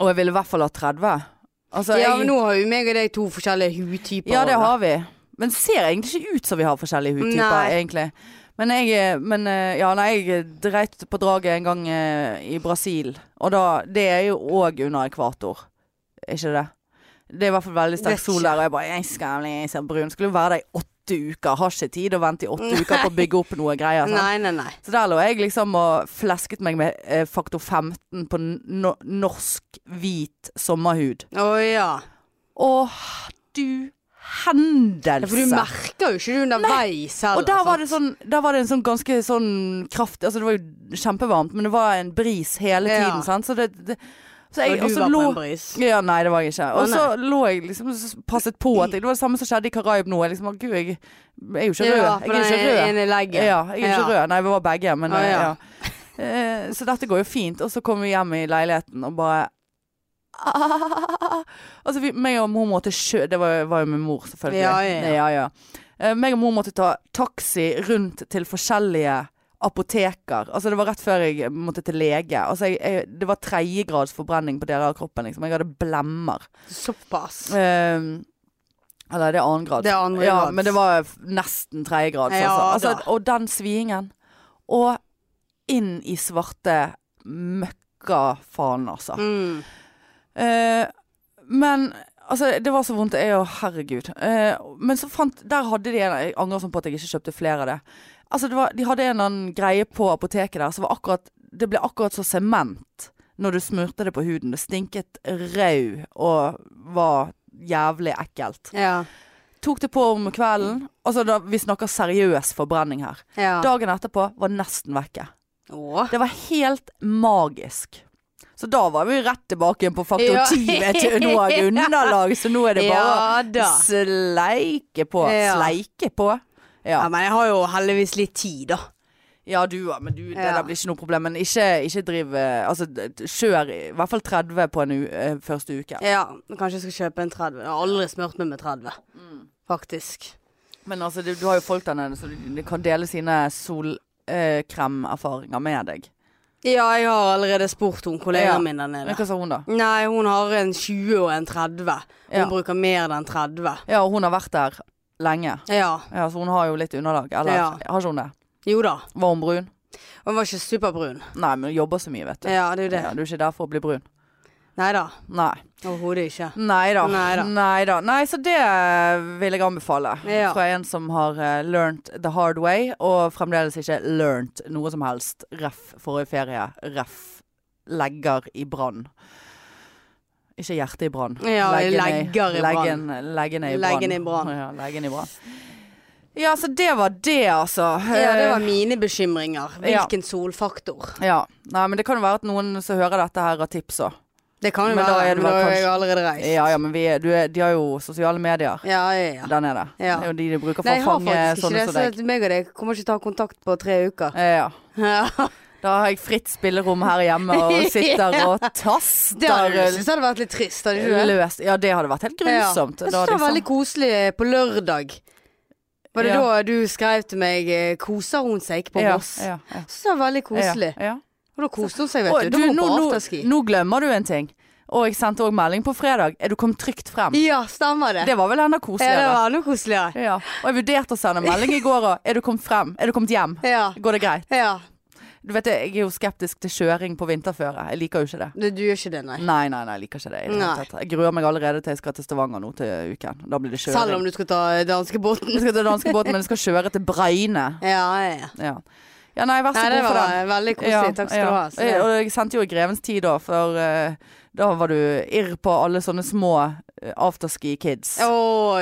Speaker 1: Og jeg ville i hvert fall hatt 30. Altså,
Speaker 2: ja,
Speaker 1: jeg,
Speaker 2: men nå har jo meg og deg to forskjellige hudtyper.
Speaker 1: ja, det
Speaker 2: også, da.
Speaker 1: har vi. Men ser egentlig ikke ut som vi har forskjellige hudtyper,
Speaker 2: Nei.
Speaker 1: egentlig. Men jeg men, eh, Ja, nei, jeg dreit på draget en gang eh, i Brasil. Og da Det er jo òg under ekvator. Er ikke det? Det er i hvert fall veldig
Speaker 2: Vet
Speaker 1: sterk sol
Speaker 2: ikke.
Speaker 1: der, og jeg bare Jeg skal bli så brun. Skulle jo være der i åtte uker. Har ikke tid å vente i åtte uker på å bygge opp noe greier. sant?
Speaker 2: Nei, nei, nei.
Speaker 1: Så der lå jeg liksom og flesket meg med eh, faktor 15 på no norsk hvit sommerhud.
Speaker 2: Å ja.
Speaker 1: Å, du
Speaker 2: Ja,
Speaker 1: hendelse!
Speaker 2: For du merker jo ikke det underveis heller. altså.
Speaker 1: og der var, det sånn, der var det en sånn ganske sånn kraftig Altså det var jo kjempevarmt, men det var en bris hele
Speaker 2: Ja.
Speaker 1: tiden, sant. Så det, det så sånn, jeg,
Speaker 2: Og
Speaker 1: og
Speaker 2: du
Speaker 1: så
Speaker 2: var
Speaker 1: lå,
Speaker 2: på en bris.
Speaker 1: ja, nei, det var jeg ikke. Og
Speaker 2: Å,
Speaker 1: så lå jeg liksom og s- passet på at jeg, Det var det samme som skjedde i Karaib nå. Jeg liksom, å, Gud, jeg, jeg er jo ikke rød.
Speaker 2: Ja,
Speaker 1: jeg er jo ikke rød.
Speaker 2: ene leggen.
Speaker 1: Ja, jeg er ikke
Speaker 2: Ja.
Speaker 1: rød. Nei, vi var begge, men
Speaker 2: Ah,
Speaker 1: eh,
Speaker 2: ja.
Speaker 1: ja. Eh, Så dette går jo fint. Og så kommer vi hjem i leiligheten og bare Altså, vi, meg og mor måtte kjø... Det var, var jo med mor, selvfølgelig.
Speaker 2: Ja, ja, ja.
Speaker 1: ja, ja. Eh, Meg og mor måtte ta taxi rundt til forskjellige apoteker. Altså det var rett før jeg måtte til lege. Altså jeg, jeg, det var tredjegrads forbrenning på deler av kroppen. Liksom. Jeg hadde blemmer.
Speaker 2: Såpass.
Speaker 1: Ehm, eller det er annen grad.
Speaker 2: Det er andre
Speaker 1: ja,
Speaker 2: grads.
Speaker 1: Men det var f- nesten tredje grad.
Speaker 2: Ja,
Speaker 1: altså.
Speaker 2: da.
Speaker 1: altså, og den svingen. Og inn i svarte møkkafaen, altså.
Speaker 2: Mm.
Speaker 1: Eh, men altså, det var så vondt. Jeg, å, herregud. Eh, men så fant Der hadde de en Jeg angrer sånn på at jeg ikke kjøpte flere av det. Altså, det var, de hadde en eller annen greie på apoteket der som var akkurat Det ble akkurat så sement når du smurte det på huden. Det stinket rau og var jævlig ekkelt.
Speaker 2: Ja.
Speaker 1: Tok det på om kvelden. Altså, da, vi snakker seriøs forbrenning her.
Speaker 2: ja.
Speaker 1: Dagen etterpå var nesten vekke.
Speaker 2: Å.
Speaker 1: Det var helt magisk. Så da var vi rett tilbake igjen på faktor
Speaker 2: Ja.
Speaker 1: 10 med til noe underlag, så nå er det bare
Speaker 2: Ja
Speaker 1: å
Speaker 2: da.
Speaker 1: sleike på.
Speaker 2: Ja.
Speaker 1: Sleike på.
Speaker 2: Ja,
Speaker 1: Ja.
Speaker 2: men jeg har jo heldigvis litt tid, da.
Speaker 1: ja, du ja, men du, det
Speaker 2: Ja.
Speaker 1: der blir ikke noe problem. Men ikke, ikke driv eh, Altså, d- d- kjør i i hvert fall 30 på en u eh, første uke.
Speaker 2: Ja, Kanskje jeg skal kjøpe en 30. Jeg har aldri smurt meg med 30,
Speaker 1: Mm.
Speaker 2: faktisk.
Speaker 1: Men altså, du, du har jo folk der nede, så de, de kan dele sine solkremerfaringer med deg.
Speaker 2: Ja, jeg har allerede spurt hun
Speaker 1: Ja.
Speaker 2: kollegaen min der nede.
Speaker 1: Men hva sa hun, da?
Speaker 2: Nei, hun har en 20 og en 30. Hun
Speaker 1: Ja.
Speaker 2: bruker mer enn 30.
Speaker 1: Ja, hun har vært der lenge.
Speaker 2: Ja.
Speaker 1: Ja, Så hun har jo litt underlag. Eller
Speaker 2: Ja.
Speaker 1: har ikke hun det?
Speaker 2: Jo da.
Speaker 1: Var hun brun?
Speaker 2: Hun var ikke superbrun.
Speaker 1: Nei, men du jobber så mye, vet du.
Speaker 2: Ja, det er jo det.
Speaker 1: Ja, du er ikke der for å bli brun.
Speaker 2: Nei da.
Speaker 1: Nei.
Speaker 2: Overhodet ikke.
Speaker 1: Nei da.
Speaker 2: Neida.
Speaker 1: Neida. Nei, så det vil jeg anbefale.
Speaker 2: Ja.
Speaker 1: Fra en som har eh, learnt the hard way, og fremdeles ikke learnt noe som helst. Ref forrige ferie. Ref legger i brann. Ikke hjertet i brann.
Speaker 2: Ja,
Speaker 1: Leggene
Speaker 2: legger i brann.
Speaker 1: Leggen- Leggene i brann.
Speaker 2: Leggene i brann.
Speaker 1: Ja, leggen i brann. Ja, så det var det, altså.
Speaker 2: Ja, det var mine bekymringer.
Speaker 1: Ja.
Speaker 2: Hvilken solfaktor.
Speaker 1: Eh, Ja. Nei, men det kan jo være at noen som hører dette her, har tips òg.
Speaker 2: Det kan jo
Speaker 1: Men
Speaker 2: være,
Speaker 1: da er det
Speaker 2: men da
Speaker 1: vel
Speaker 2: er jeg
Speaker 1: kanskje-
Speaker 2: allerede reist.
Speaker 1: Ja, ja, men vi, er- du, er- de har jo sosiale medier
Speaker 2: ja, ja. ja.
Speaker 1: der nede.
Speaker 2: Ja.
Speaker 1: Det er jo de de bruker for
Speaker 2: Nei,
Speaker 1: å
Speaker 2: jeg har
Speaker 1: fange
Speaker 2: faktisk ikke
Speaker 1: sånne
Speaker 2: det,
Speaker 1: som
Speaker 2: så
Speaker 1: deg.
Speaker 2: at meg og deg kommer ikke til å ha kontakt på tre uker.
Speaker 1: Eh, Ja.
Speaker 2: Ja.
Speaker 1: Da har jeg fritt spillerom her hjemme og sitter og
Speaker 2: Det hadde, jeg
Speaker 1: taster
Speaker 2: synes hadde vært litt trist, hadde ikke du det?
Speaker 1: løst. Ja, det hadde vært helt grusomt.
Speaker 2: Ja. Jeg synes
Speaker 1: Da
Speaker 2: det
Speaker 1: liksom-
Speaker 2: var veldig koselig på lørdag. Var det
Speaker 1: Ja.
Speaker 2: da du skrev til meg eh, 'koser hun seg ikke på
Speaker 1: ja,
Speaker 2: Voss'?
Speaker 1: ja, ja.
Speaker 2: Jeg synes det var veldig koselig.
Speaker 1: Ja, ja.
Speaker 2: Og da koste hun seg, vet
Speaker 1: Å,
Speaker 2: du.
Speaker 1: du,
Speaker 2: Da må hun
Speaker 1: nå,
Speaker 2: på
Speaker 1: nå,
Speaker 2: afterski.
Speaker 1: nå glemmer du en ting. Og jeg sendte òg melding på fredag. Er du kommet trygt frem?
Speaker 2: Ja, stemmer det.
Speaker 1: Det var vel enda
Speaker 2: ja, det
Speaker 1: koseligere.
Speaker 2: var noe koseligere.
Speaker 1: Ja. Og jeg vurderte å sende melding i går òg. Er du kommet frem? Er du kommet hjem?
Speaker 2: Ja.
Speaker 1: Går det greit?
Speaker 2: ja.
Speaker 1: Du vet, Jeg er jo skeptisk til kjøring på vinterføre. Jeg liker jo ikke det.
Speaker 2: Du, du gjør ikke det, nei.
Speaker 1: Nei, nei, nei, jeg liker ikke det. i det hele
Speaker 2: Nei.
Speaker 1: tatt. Jeg gruer meg allerede til jeg skal til Stavanger nå til uken. Da blir det kjøring.
Speaker 2: Selv om du skal ta danskebåten.
Speaker 1: Jeg skal til danskebåten, men jeg skal kjøre til Breine.
Speaker 2: Ja, ja, ja.
Speaker 1: Ja. ja, nei, vær så
Speaker 2: Nei, det
Speaker 1: god for
Speaker 2: var
Speaker 1: den.
Speaker 2: veldig koselig.
Speaker 1: Ja,
Speaker 2: Takk skal
Speaker 1: ja.
Speaker 2: du ha. Så,
Speaker 1: Og jeg sendte jo i Grevens tid da, for eh, da var du irr på alle sånne små eh, afterski-kids.
Speaker 2: Å,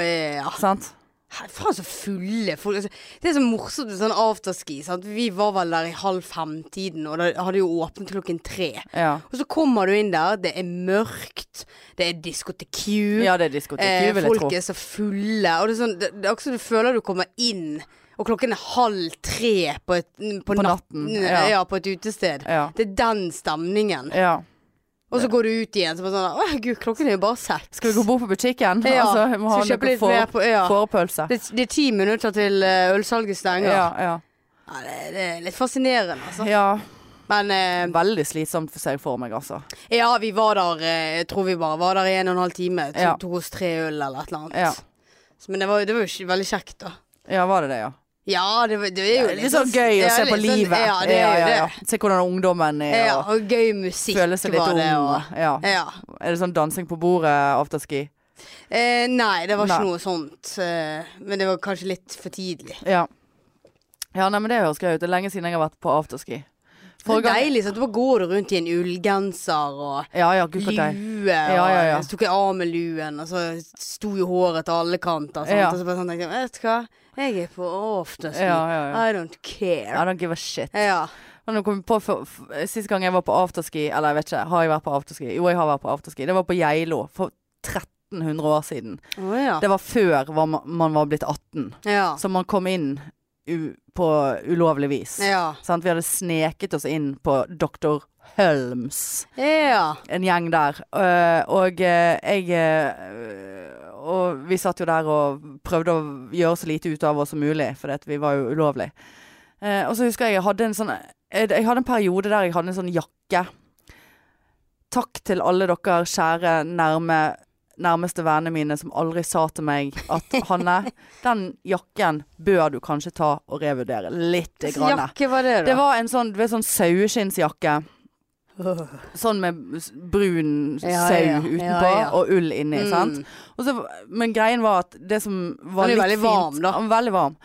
Speaker 2: ja.
Speaker 1: Sant?
Speaker 2: Her- Faen så fulle folk. Altså, Det er så morsomt med sånn afterski. Sant? Vi var vel der i halv fem-tiden, og det hadde jo åpnet klokken tre.
Speaker 1: Ja.
Speaker 2: Og så kommer du inn der, det er mørkt, det er diskotek.
Speaker 1: ja, det er diskotek,
Speaker 2: eh,
Speaker 1: vil jeg
Speaker 2: folk
Speaker 1: tro.
Speaker 2: er så fulle. Og det er sånn, det, det er akkurat som du føler du kommer inn, og klokken er halv tre på, et, på, natten. Ja. på et utested.
Speaker 1: Ja.
Speaker 2: Det er den stemningen.
Speaker 1: ja.
Speaker 2: Og så går du ut igjen, så bare sånn Å, herregud, klokken er jo bare seks.
Speaker 1: Skal vi gå bort på butikken?
Speaker 2: Ja.
Speaker 1: Altså, vi må ha
Speaker 2: Skal vi kjøpe
Speaker 1: noe
Speaker 2: litt mer
Speaker 1: for,
Speaker 2: på ja.
Speaker 1: fårepølse.
Speaker 2: Det, det er ti minutter til eh, ølsalget stenger.
Speaker 1: Ja, ja.
Speaker 2: Ja, det, det er litt fascinerende, altså.
Speaker 1: ja.
Speaker 2: Men eh,
Speaker 1: Veldig slitsomt for seg for meg, altså.
Speaker 2: ja, vi var der eh, Jeg tror vi bare var der i en og en halv time. To,
Speaker 1: Ja.
Speaker 2: Tok oss tre øl eller et eller annet.
Speaker 1: Ja.
Speaker 2: Så, men det var, det var jo ikke- veldig kjekt, da.
Speaker 1: Ja, var det det, ja?
Speaker 2: Ja, det, var- det er jo
Speaker 1: Det er litt sånn gøy å
Speaker 2: ja,
Speaker 1: se
Speaker 2: litt
Speaker 1: på
Speaker 2: sånn-
Speaker 1: livet.
Speaker 2: Ja, det er jo det. Ja,
Speaker 1: Se hvordan ungdommen er, og
Speaker 2: og gøy musikk
Speaker 1: føle seg litt
Speaker 2: var
Speaker 1: ung.
Speaker 2: det. og-
Speaker 1: og- Ja.
Speaker 2: ja.
Speaker 1: Er det sånn dansing på bordet, afterski?
Speaker 2: Eh, nei, det var ikke
Speaker 1: Nei.
Speaker 2: noe sånt. eh, men det var kanskje litt for tidlig.
Speaker 1: Ja. ja, nei, men det høres gøy ut. Det er lenge siden jeg har vært på afterski.
Speaker 2: Det er
Speaker 1: Forrige gang-
Speaker 2: deilig. Sant? Da bare går du rundt i en ullgenser og
Speaker 1: Ja ja, gud for deg.
Speaker 2: lue,
Speaker 1: Ja, ja, ja.
Speaker 2: og så tok jeg av med luen, og så sto jo håret til alle kanter. Sant?
Speaker 1: Ja.
Speaker 2: Og så bare sånn tenkte jeg, vet du hva, jeg er på afterski.
Speaker 1: Ja, ja, ja.
Speaker 2: I don't care.
Speaker 1: I don't give a shit.
Speaker 2: Ja.
Speaker 1: Men nå kom jeg på for, for, Sist gang jeg var på afterski, eller jeg vet ikke, har jeg vært på afterski? Jo, jeg har vært på afterski. Det var på Geilo for 1300 år siden.
Speaker 2: Å ja.
Speaker 1: Det var før var ma- man var blitt 18.
Speaker 2: ja.
Speaker 1: Så man kom inn u på ulovlig vis.
Speaker 2: Ja.
Speaker 1: Sant? Vi hadde sneket oss inn på Dr. Hølms,
Speaker 2: Ja.
Speaker 1: en gjeng der. Øh, og øh, jeg øh, Og vi satt jo der og prøvde å gjøre så lite ut av oss som mulig, for vi var jo ulovlig. Eh, og så husker jeg jeg hadde en sånn Jeg jeg hadde en periode der jeg hadde en sånn jakke. Takk til alle dere kjære nærme, nærmeste vennene mine som aldri sa til meg at Hanne, den jakken bør du kanskje ta og revurdere litt.
Speaker 2: Hvilken
Speaker 1: Grann.
Speaker 2: jakke var det, da?
Speaker 1: Det var en sånn, du vet, sånn saueskinnsjakke.
Speaker 2: Mm.
Speaker 1: Sånn med s- brun
Speaker 2: Ja,
Speaker 1: sau
Speaker 2: ja, ja.
Speaker 1: utenpå
Speaker 2: Ja, Mm. ja.
Speaker 1: og ull inni. Sant? Og så, men greien var at det som var
Speaker 2: Han er
Speaker 1: litt
Speaker 2: veldig
Speaker 1: fint
Speaker 2: varm, da.
Speaker 1: Han var veldig varm.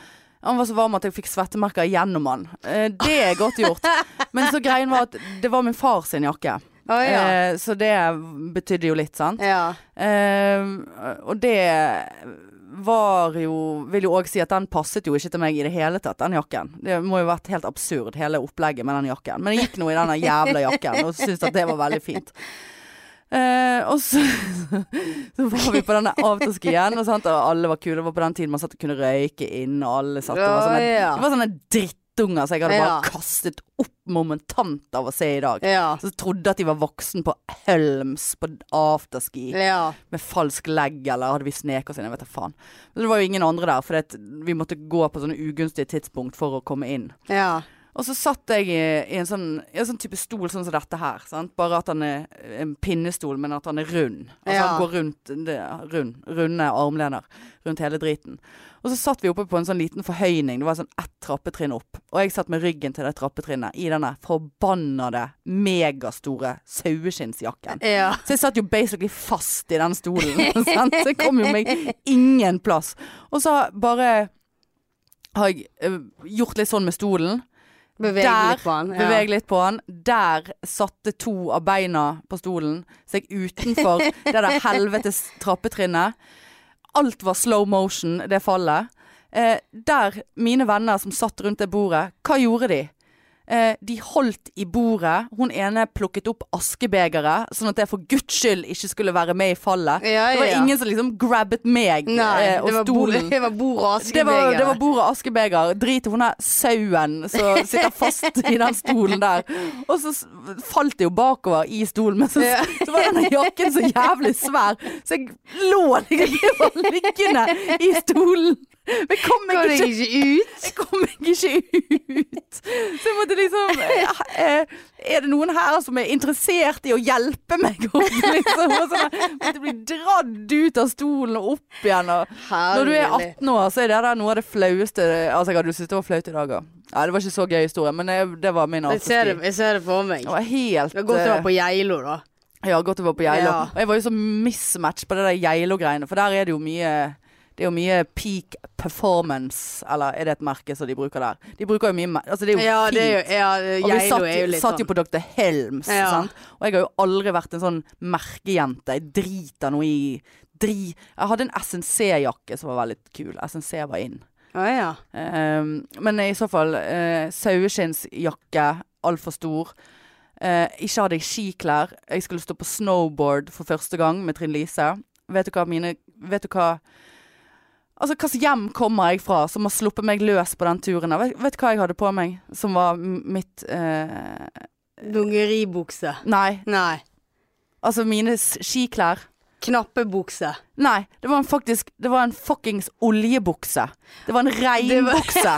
Speaker 1: Han var så varm at jeg fikk svettemerker gjennom han. Eh, Det er godt gjort. Men så greien var at det var min far sin jakke.
Speaker 2: Å, ja.
Speaker 1: Eh, Så det betydde jo litt, sant.
Speaker 2: ja.
Speaker 1: Eh, og det var jo Vil jo òg si at den passet jo ikke til meg i det hele tatt, den jakken. Det må jo vært helt absurd, hele opplegget med den jakken. Men jeg gikk nå i denne jævla jakken og syntes at det var veldig fint. Eh, og så, så var vi på denne afterskien, og, sant, og alle var kule. Det var på den tiden man satt og kunne røyke inn, og alle satt og var
Speaker 2: Å,
Speaker 1: sånne,
Speaker 2: ja.
Speaker 1: det var sånne drittunger som jeg hadde
Speaker 2: Ja.
Speaker 1: bare kastet opp momentant av å se i dag.
Speaker 2: ja.
Speaker 1: Så trodde at de var voksen på Helms på afterski
Speaker 2: ja.
Speaker 1: med falsk legg, eller hadde vi sneket oss inn, jeg vet da faen. Men det var jo ingen andre der, for det, vi måtte gå på sånne ugunstige tidspunkt for å komme inn.
Speaker 2: ja.
Speaker 1: Og så satt jeg i, i, en, sånn, i en sånn type stol sånn som dette her, sant? bare at han er en pinnestol, men at han er rund. Altså
Speaker 2: Ja.
Speaker 1: han går rundt, det, rund, runde armlener rundt hele driten. Og så satt vi oppe på en sånn liten forhøyning, det var sånn ett trappetrinn opp. Og jeg satt med ryggen til det trappetrinnet i denne forbannede megastore saueskinnsjakken.
Speaker 2: ja.
Speaker 1: Så jeg satt jo basically fast i den stolen. sant? Så jeg kom jo meg ingen plass. Og så bare har jeg eh, gjort litt sånn med stolen.
Speaker 2: Beveg
Speaker 1: Der
Speaker 2: litt på den. Ja.
Speaker 1: Beveg litt på den. Der satte to av beina på stolen. Så jeg utenfor det der helvetes trappetrinnet. Alt var slow motion, det fallet. Eh, der mine venner som satt rundt det bordet, hva gjorde de? Eh, de holdt i bordet. Hun ene plukket opp askebegeret, sånn at jeg for guds skyld ikke skulle være med i fallet.
Speaker 2: Ja,
Speaker 1: Det var
Speaker 2: ja, ja.
Speaker 1: ingen som liksom grabbet meg
Speaker 2: Nei,
Speaker 1: eh, og
Speaker 2: det var bord,
Speaker 1: stolen.
Speaker 2: det var bord
Speaker 1: Det
Speaker 2: og
Speaker 1: var,
Speaker 2: askebeger.
Speaker 1: det var bordet askebeger. Drit i hun der sauen som sitter fast i den stolen der. Og så s- falt det jo bakover i stolen, men så,
Speaker 2: Ja.
Speaker 1: så var denne jakken så jævlig svær, så jeg lå liksom jeg var liggende i stolen. Men kom
Speaker 2: Kom
Speaker 1: meg
Speaker 2: deg
Speaker 1: ikke
Speaker 2: ikke ut.
Speaker 1: jeg kom meg ikke ut. Så jeg måtte liksom eh, eh, Er det noen her som er interessert i å hjelpe meg opp? Liksom. Og sånn, jeg måtte bli dradd ut av stolen og opp igjen. Og. Når du er 18 år, så er det der noe av det flaueste Altså, jeg hadde jo syntes det var flaut i dag òg. Ja, det var ikke så gøy historie, men det, det var min
Speaker 2: Jeg ser, det,
Speaker 1: afterski.
Speaker 2: jeg ser det for meg.
Speaker 1: Det var helt
Speaker 2: Det er godt å
Speaker 1: eh,
Speaker 2: være på Geilo, da.
Speaker 1: ja, godt å være på Geilo.
Speaker 2: Ja.
Speaker 1: Og jeg var jo så mismatch på det der Geilo-greiene, for der er det jo mye det er jo mye peak performance, eller er det et merke som de bruker der? De bruker jo mye mer- Altså, det er jo
Speaker 2: Ja,
Speaker 1: fint.
Speaker 2: det er jo, ja,
Speaker 1: og vi
Speaker 2: Geilo
Speaker 1: satt,
Speaker 2: er jo litt
Speaker 1: satt jo
Speaker 2: sånn.
Speaker 1: på Dr. Helms,
Speaker 2: Ja.
Speaker 1: sant? og jeg har jo aldri vært en sånn merkejente. Jeg driter noe i dri. Jeg hadde en SNC-jakke som var veldig kul. SNC var inn.
Speaker 2: Å ja.
Speaker 1: Ehm, men i så fall uh, saueskinnsjakke, altfor stor. Eh, ikke hadde jeg skiklær. Jeg skulle stå på snowboard for første gang med Trine Lise. Vet du hva mine Vet du hva Altså, hvilket hjem kommer jeg fra som har sluppet meg løs på den turen? der? Vet, vet du hva jeg hadde på meg som var m- mitt eh,
Speaker 2: Dungeribukse.
Speaker 1: Nei,
Speaker 2: Nei.
Speaker 1: altså mine s- skiklær.
Speaker 2: Knappebukse.
Speaker 1: Nei, det var en faktisk Det var en fuckings oljebukse. Det var en regnbukse.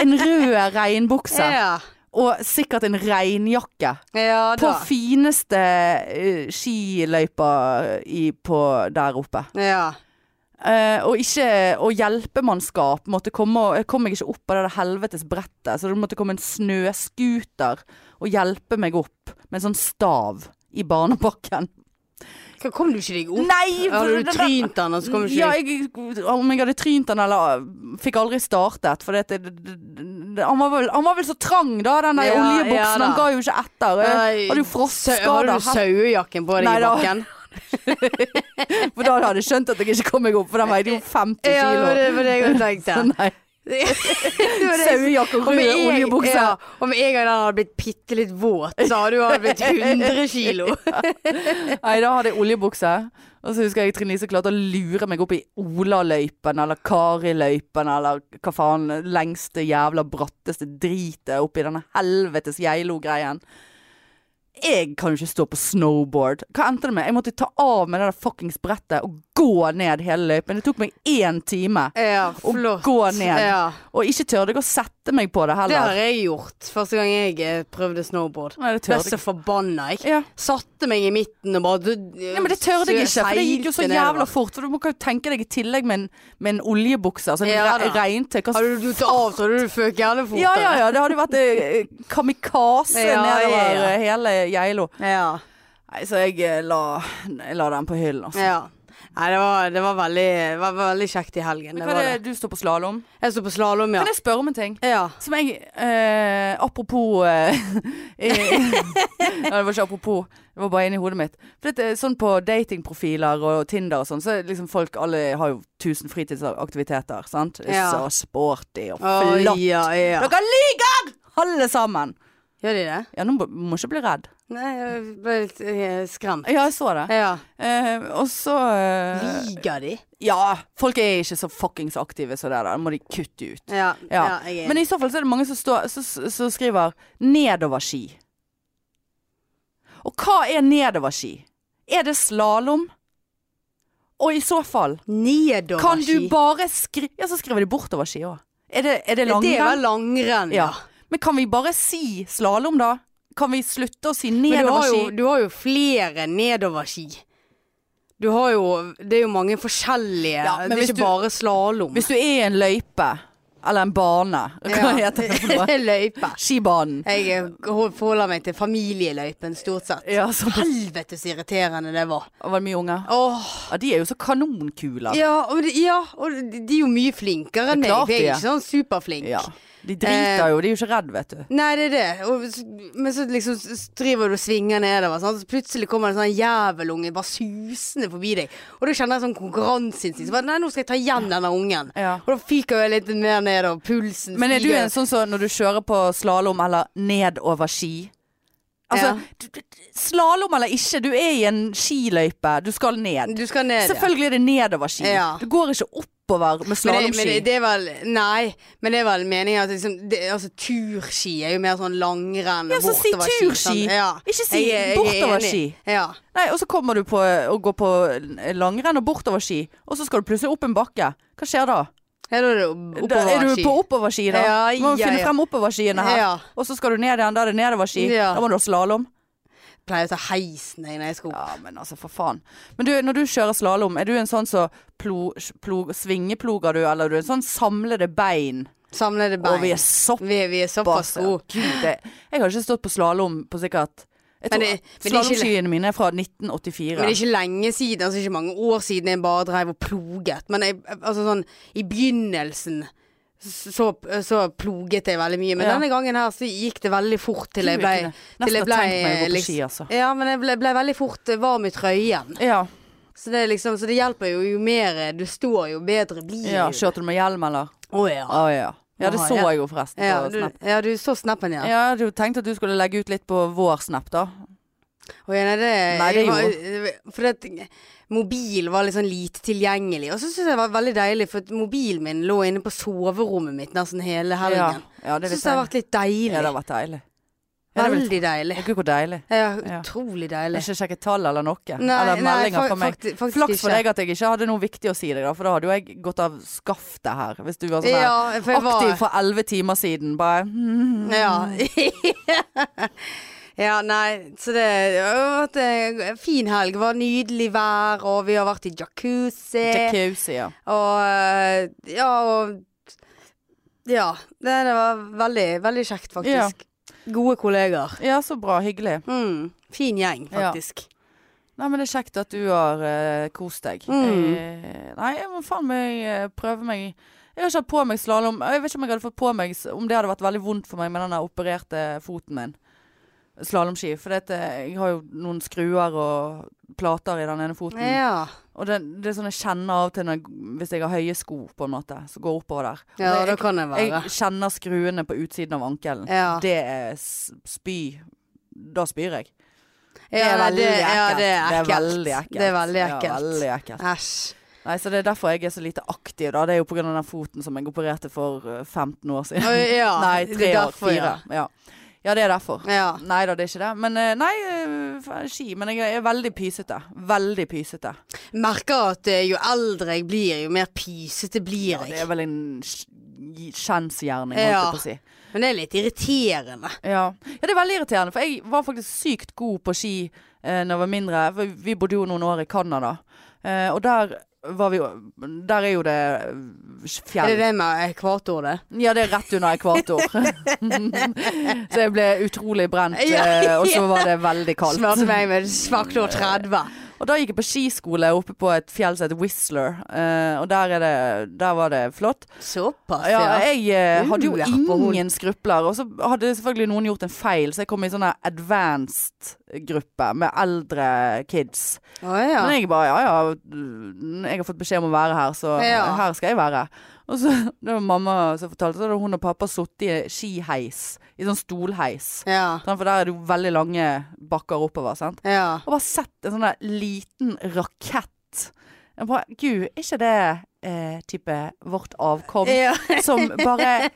Speaker 1: en rød regnbukse.
Speaker 2: Ja.
Speaker 1: Og sikkert en regnjakke.
Speaker 2: ja
Speaker 1: På
Speaker 2: da.
Speaker 1: fineste eh, skiløypa i, på, der oppe.
Speaker 2: Ja.
Speaker 1: Eh, og ikke Og hjelpemannskap måtte komme og Jeg kom meg ikke opp av det der helvetes brettet, så det måtte komme en snøscooter og hjelpe meg opp med en sånn stav i barnepakken.
Speaker 2: Hva, kom du ikke deg opp?
Speaker 1: Nei!
Speaker 2: Hadde
Speaker 1: den
Speaker 2: du
Speaker 1: der-
Speaker 2: trynt den, og så kom du ikke
Speaker 1: ja,
Speaker 2: deg
Speaker 1: jeg, om jeg hadde trynt han eller øh, Fikk aldri startet For det, det, det, det, han, var vel, han var vel så trang da Den der
Speaker 2: Ja,
Speaker 1: oljebuksen
Speaker 2: ja da.
Speaker 1: Han ga jo ikke etter Jeg Hadde jo
Speaker 2: Hadde
Speaker 1: frostskader
Speaker 2: du sauejakken på deg
Speaker 1: Nei,
Speaker 2: i
Speaker 1: da-
Speaker 2: bakken?
Speaker 1: For da hadde jeg skjønt at jeg ikke kom meg opp For den veide jo 50
Speaker 2: Ja, det
Speaker 1: kilo
Speaker 2: var det, det var det jeg tenkte.
Speaker 1: Nei,
Speaker 2: Det var det jeg
Speaker 1: Sauejakke og
Speaker 2: Om
Speaker 1: rød
Speaker 2: jeg-
Speaker 1: oljebukse
Speaker 2: Ja, om jeg og den hadde blitt bitte litt våt, så hadde du hadde blitt 100 kilo.
Speaker 1: Nei, da hadde jeg oljebukse Og så husker jeg Trine Lise klarte å lure meg opp i Ola-løypen Eller Kari-løypen Eller hva faen Lengste jævla bratteste dritet Oppi denne helvetes Geilo-greien Jeg kan jo ikke stå på snowboard. Hva endte det med? Jeg måtte ta av meg det der fuckings brettet og gå ned hele løypen. Det tok meg én time.
Speaker 2: Ja,
Speaker 1: Og
Speaker 2: flott.
Speaker 1: gå ned.
Speaker 2: Ja.
Speaker 1: Og ikke tørde jeg å sette meg på det
Speaker 2: Det
Speaker 1: heller.
Speaker 2: har jeg gjort første gang jeg eh, prøvde snowboard.
Speaker 1: Nei, det
Speaker 2: Ble
Speaker 1: tørde
Speaker 2: så
Speaker 1: jeg
Speaker 2: forbanna, jeg.
Speaker 1: ja.
Speaker 2: Satte meg i midten og bare du, eh,
Speaker 1: Nei, men det tørde jeg ikke, for det gikk jo så jævla fort. For du må kan jo tenke deg i tillegg med en, med en oljebukse. Altså en
Speaker 2: Ja
Speaker 1: re-
Speaker 2: da.
Speaker 1: regntøy. Hva
Speaker 2: Hadde du tatt av, så hadde du føket jævla fort.
Speaker 1: Ja, ja, ja. Det hadde jo vært eh, kamikaze
Speaker 2: Ja,
Speaker 1: nedover
Speaker 2: ja, ja.
Speaker 1: eh, hele Geilo.
Speaker 2: ja.
Speaker 1: Nei, så jeg eh, la, jeg la den på hyllen, altså.
Speaker 2: Ja. Nei, det var, det var, veldig, det var veldig kjekt i helgen.
Speaker 1: Men
Speaker 2: Det
Speaker 1: hva
Speaker 2: var
Speaker 1: er
Speaker 2: det.
Speaker 1: det du står på slalåm?
Speaker 2: Jeg sto på slalåm, ja.
Speaker 1: Kan jeg spørre om en ting?
Speaker 2: ja.
Speaker 1: Som jeg eh, Apropos eh, eh, Nei, det var ikke apropos. Det var bare inni hodet mitt. For dette, er sånn på datingprofiler og Tinder og sånn, så er liksom folk Alle har jo tusen fritidsaktiviteter, sant? Det er
Speaker 2: Ja.
Speaker 1: Så sporty og
Speaker 2: Å,
Speaker 1: flott.
Speaker 2: ja, ja.
Speaker 1: Dere lyver! Alle sammen.
Speaker 2: Gjør de det?
Speaker 1: Ja, nå må- må ikke bli redd.
Speaker 2: Nei, jeg ble litt eh, skremt.
Speaker 1: Ja, jeg så det.
Speaker 2: Ja.
Speaker 1: Eh, og så eh,
Speaker 2: Liker de?
Speaker 1: Ja, folk er ikke så fuckings aktive som det der. Det må de kutte ut.
Speaker 2: Ja. ja.
Speaker 1: Ja.
Speaker 2: jeg er
Speaker 1: Men i så fall så er det mange som, står, så- så- så skriver 'nedoverski'. Og hva er nedoverski? Er det slalåm? Og i så fall,
Speaker 2: Nedoverski.
Speaker 1: kan du bare skrive Ja, så skriver de bortoverski òg. Er det, er det
Speaker 2: Det er
Speaker 1: langrenn?
Speaker 2: vel langrenn,
Speaker 1: Ja. Men kan vi bare si slalåm, da? Kan vi slutte å si
Speaker 2: Men du har, jo,
Speaker 1: nedoverski?
Speaker 2: du har jo flere nedoverski. Du har jo Det er jo mange forskjellige.
Speaker 1: Ja, men
Speaker 2: det er
Speaker 1: hvis
Speaker 2: ikke
Speaker 1: du-
Speaker 2: bare slalåm.
Speaker 1: Hvis du er i en løype, eller en bane, hva heter det for noe?
Speaker 2: Det er løype.
Speaker 1: Skibanen.
Speaker 2: Jeg eh, hol- forholder meg til familieløypen, stort sett.
Speaker 1: Ja, så
Speaker 2: Helvetes irriterende det var.
Speaker 1: var det mye unger.
Speaker 2: Åh,
Speaker 1: Ja, de er jo så kanonkule.
Speaker 2: ja, og de, ja, og de de er jo mye flinkere enn
Speaker 1: Det
Speaker 2: meg.
Speaker 1: er klart
Speaker 2: for Jeg
Speaker 1: de
Speaker 2: er
Speaker 1: er.
Speaker 2: ikke sånn superflink.
Speaker 1: Ja. De
Speaker 2: Eh.
Speaker 1: driter jo, de er jo ikke redd, vet du.
Speaker 2: Nei, det er det. Og, s- men så liksom s- s- driver du og svinger nedover, sant? så plutselig kommer det en sånn jævelunge bare susende forbi deg. Og da kjenner jeg sånn konkurranseinstinkt. Så bare, Nei, nå skal jeg ta igjen denne ungen.
Speaker 1: Ja.
Speaker 2: Og da fyker jeg litt mer ned, og pulsen
Speaker 1: Men er du
Speaker 2: stiger.
Speaker 1: en sånn som når du kjører på slalåm eller nedover ski? Altså,
Speaker 2: Ja.
Speaker 1: du- du- du- slalåm eller ikke, du er i en skiløype, du skal ned.
Speaker 2: Du skal ned, ja.
Speaker 1: sånn- Selvfølgelig er det nedover ski.
Speaker 2: Ja.
Speaker 1: Du går ikke oppover med
Speaker 2: Men det, men
Speaker 1: slalåmski.
Speaker 2: det, det er vel Nei, men det er vel meningen at liksom det, Altså turski er jo mer sånn langrenn
Speaker 1: Ja, så si
Speaker 2: bortoverski,
Speaker 1: turski.
Speaker 2: sånn. Ja.
Speaker 1: Ikke si
Speaker 2: Jeg er- jeg er
Speaker 1: bortoverski.
Speaker 2: enig. Ja.
Speaker 1: Nei, og så kommer du på å gå på langrenn og bortover ski, og så skal du plutselig opp en bakke. Hva skjer da?
Speaker 2: Her er det jo
Speaker 1: Da
Speaker 2: oppoverski.
Speaker 1: er du på oppoverski, da.
Speaker 2: Ja,
Speaker 1: Du må
Speaker 2: ja,
Speaker 1: finne
Speaker 2: ja.
Speaker 1: frem oppoverskiene her.
Speaker 2: Ja.
Speaker 1: Og så skal du ned igjen, da er det nedoverski.
Speaker 2: Ja.
Speaker 1: Da må du ha slalåm.
Speaker 2: Pleier å ta heisen jeg når jeg skal opp.
Speaker 1: Ja, men altså, for faen. Men du, når du kjører slalåm, er du en sånn som plo, plo, svingeploger du, eller er du en sånn samlede bein?
Speaker 2: Samlede bein.
Speaker 1: Og vi er såpass
Speaker 2: Vi, vi er såpass
Speaker 1: ja.
Speaker 2: gode.
Speaker 1: Gud, det, jeg har ikke stått på slalåm på sikkert jeg tror,
Speaker 2: Men det- men det er ikke-
Speaker 1: Slalåmskiene mine er fra
Speaker 2: Men det er
Speaker 1: 1984.
Speaker 2: ikke lenge siden, altså ikke mange år siden jeg bare drev og ploget. Men jeg, altså sånn, i begynnelsen så, så ploget jeg veldig mye. Men
Speaker 1: Ja.
Speaker 2: denne gangen her så gikk det veldig fort til jeg
Speaker 1: Gud,
Speaker 2: ble
Speaker 1: jeg kunne
Speaker 2: til jeg
Speaker 1: nesten
Speaker 2: ble,
Speaker 1: ha tenkt meg å gå på
Speaker 2: liksom-
Speaker 1: ski, altså.
Speaker 2: Ja, men jeg ble, ble veldig fort eh, varm i trøyen.
Speaker 1: Ja,
Speaker 2: Så det, er liksom, så det hjelper jo. Jo mer eh, du står, jo bedre blir
Speaker 1: ja.
Speaker 2: du.
Speaker 1: Kjørte du med hjelm, eller?
Speaker 2: Å ja.
Speaker 1: Å ja. Ja, det
Speaker 2: Å,
Speaker 1: så
Speaker 2: ja.
Speaker 1: jeg jo forresten
Speaker 2: Ja
Speaker 1: på
Speaker 2: du,
Speaker 1: Snap.
Speaker 2: ja, du så snappen, ja. Å ja.
Speaker 1: Ja, du tenkte at du skulle legge ut litt på vår Snap, da.
Speaker 2: nei, det,
Speaker 1: Nei, det
Speaker 2: jeg
Speaker 1: gjorde-
Speaker 2: var- For det, mobil var litt sånn lite tilgjengelig. Og så syns jeg det var veldig deilig, for at mobilen min lå inne på soverommet mitt nesten hele
Speaker 1: Ja,
Speaker 2: helgen.
Speaker 1: ja det
Speaker 2: Jeg
Speaker 1: vet
Speaker 2: syns det har
Speaker 1: jeg.
Speaker 2: vært litt deilig.
Speaker 1: Ja, det har vært deilig. Ja, det
Speaker 2: veldig deilig.
Speaker 1: var- Gud, hvor deilig.
Speaker 2: Ja,
Speaker 1: Ja.
Speaker 2: utrolig
Speaker 1: Jeg
Speaker 2: deilig.
Speaker 1: har ikke sjekket tall eller noe.
Speaker 2: Nei,
Speaker 1: eller
Speaker 2: nei,
Speaker 1: meldinger
Speaker 2: fa-
Speaker 1: fra meg.
Speaker 2: fakti- faktisk
Speaker 1: Flaks for
Speaker 2: ikke.
Speaker 1: deg at jeg ikke hadde noe viktig å si deg, da, for da hadde jo jeg gått av skaftet her. Hvis du var sånn her
Speaker 2: Ja, for jeg var
Speaker 1: aktiv for elleve timer siden. Bare hmm.
Speaker 2: Ja. ja, nei, så det det har vært en fin helg. Det var nydelig vær, og vi har vært i jacuzzi.
Speaker 1: Jacuzzi, ja.
Speaker 2: Og eh, ja, og Ja. Det, det var veldig, veldig kjekt, faktisk. Gode kollegaer.
Speaker 1: ja, så bra. Hyggelig.
Speaker 2: Mm, fin gjeng,
Speaker 1: Ja.
Speaker 2: faktisk.
Speaker 1: Nei, men det er kjekt at du har eh, kost deg.
Speaker 2: Mm.
Speaker 1: Eh, nei, jeg må faen meg eh, prøve meg Jeg har ikke hatt på meg slalåm. Jeg vet ikke om jeg hadde fått på meg s- om det hadde vært veldig vondt for meg med den der opererte foten min. Slalåmski. For det, at, eh, jeg har jo noen skruer og plater i den ene foten.
Speaker 2: Ja.
Speaker 1: Og det, det er sånn jeg kjenner av og til når, jeg- hvis jeg har høye sko, på en måte, så går jeg oppover der. Og
Speaker 2: ja,
Speaker 1: det,
Speaker 2: da kan det
Speaker 1: jeg,
Speaker 2: være.
Speaker 1: jeg kjenner skruene på utsiden av ankelen.
Speaker 2: Ja.
Speaker 1: Det er s- spy. Da spyr jeg.
Speaker 2: Ja, nei,
Speaker 1: veldig
Speaker 2: det, ja, det er
Speaker 1: Det er
Speaker 2: ekkelt.
Speaker 1: veldig ekkelt.
Speaker 2: Det er veldig
Speaker 1: Ja,
Speaker 2: ekkelt.
Speaker 1: veldig ekkelt.
Speaker 2: Æsj.
Speaker 1: Nei, så det er derfor jeg er så lite aktiv, da. Det er jo på grunn av den foten som jeg opererte for eh, 15 år siden.
Speaker 2: Å, Ja,
Speaker 1: Nei,
Speaker 2: det er
Speaker 1: tre år.
Speaker 2: derfor, ja.
Speaker 1: Fire. Ja. Ja, det er derfor.
Speaker 2: Ja.
Speaker 1: Nei da, det er ikke det. Men eh, nei, eh, faen, ski. Men jeg er veldig pysete. Veldig pysete.
Speaker 2: Merker at eh, jo eldre jeg blir, jo mer pysete blir
Speaker 1: Ja, det er
Speaker 2: jeg.
Speaker 1: vel en kj- kjensgjerning, holdt jeg
Speaker 2: Ja.
Speaker 1: på å si.
Speaker 2: Men det er litt irriterende.
Speaker 1: Ja. ja, det er veldig irriterende, for jeg var faktisk sykt god på ski eh, når jeg var mindre. For vi bodde jo noen år i Canada, eh, og der var vi jo Der er jo det eh,
Speaker 2: Er
Speaker 1: fjell.
Speaker 2: det det med ekvator, det?
Speaker 1: Ja, det er rett under ekvator. så jeg ble utrolig brent,
Speaker 2: Ja,
Speaker 1: eh, og så var det veldig kaldt.
Speaker 2: Smørte meg med svaktor 30.
Speaker 1: Og da gikk jeg på skiskole oppe på et fjell som heter Whistler, eh, og der, er det, der var det flott.
Speaker 2: Såpass,
Speaker 1: Ja,
Speaker 2: ja.
Speaker 1: jeg eh, hadde jo
Speaker 2: Uh, Apple.
Speaker 1: ingen skrupler. Og så hadde selvfølgelig noen gjort en feil, så jeg kom i sånn advanced-gruppe med eldre kids.
Speaker 2: Å ja.
Speaker 1: Men jeg bare ja ja, jeg har fått beskjed om å være her, så
Speaker 2: Ja.
Speaker 1: her skal jeg være. Og så det var mamma som fortalte, så hadde hun og pappa sittet i skiheis. I sånn stolheis.
Speaker 2: Ja.
Speaker 1: Sånn, For der er det jo veldig lange bakker oppover, sant.
Speaker 2: ja.
Speaker 1: Og bare sett en sånn der liten rakett. Jeg bare, Gud, er ikke det eh, type vårt avkom?
Speaker 2: Ja.
Speaker 1: som bare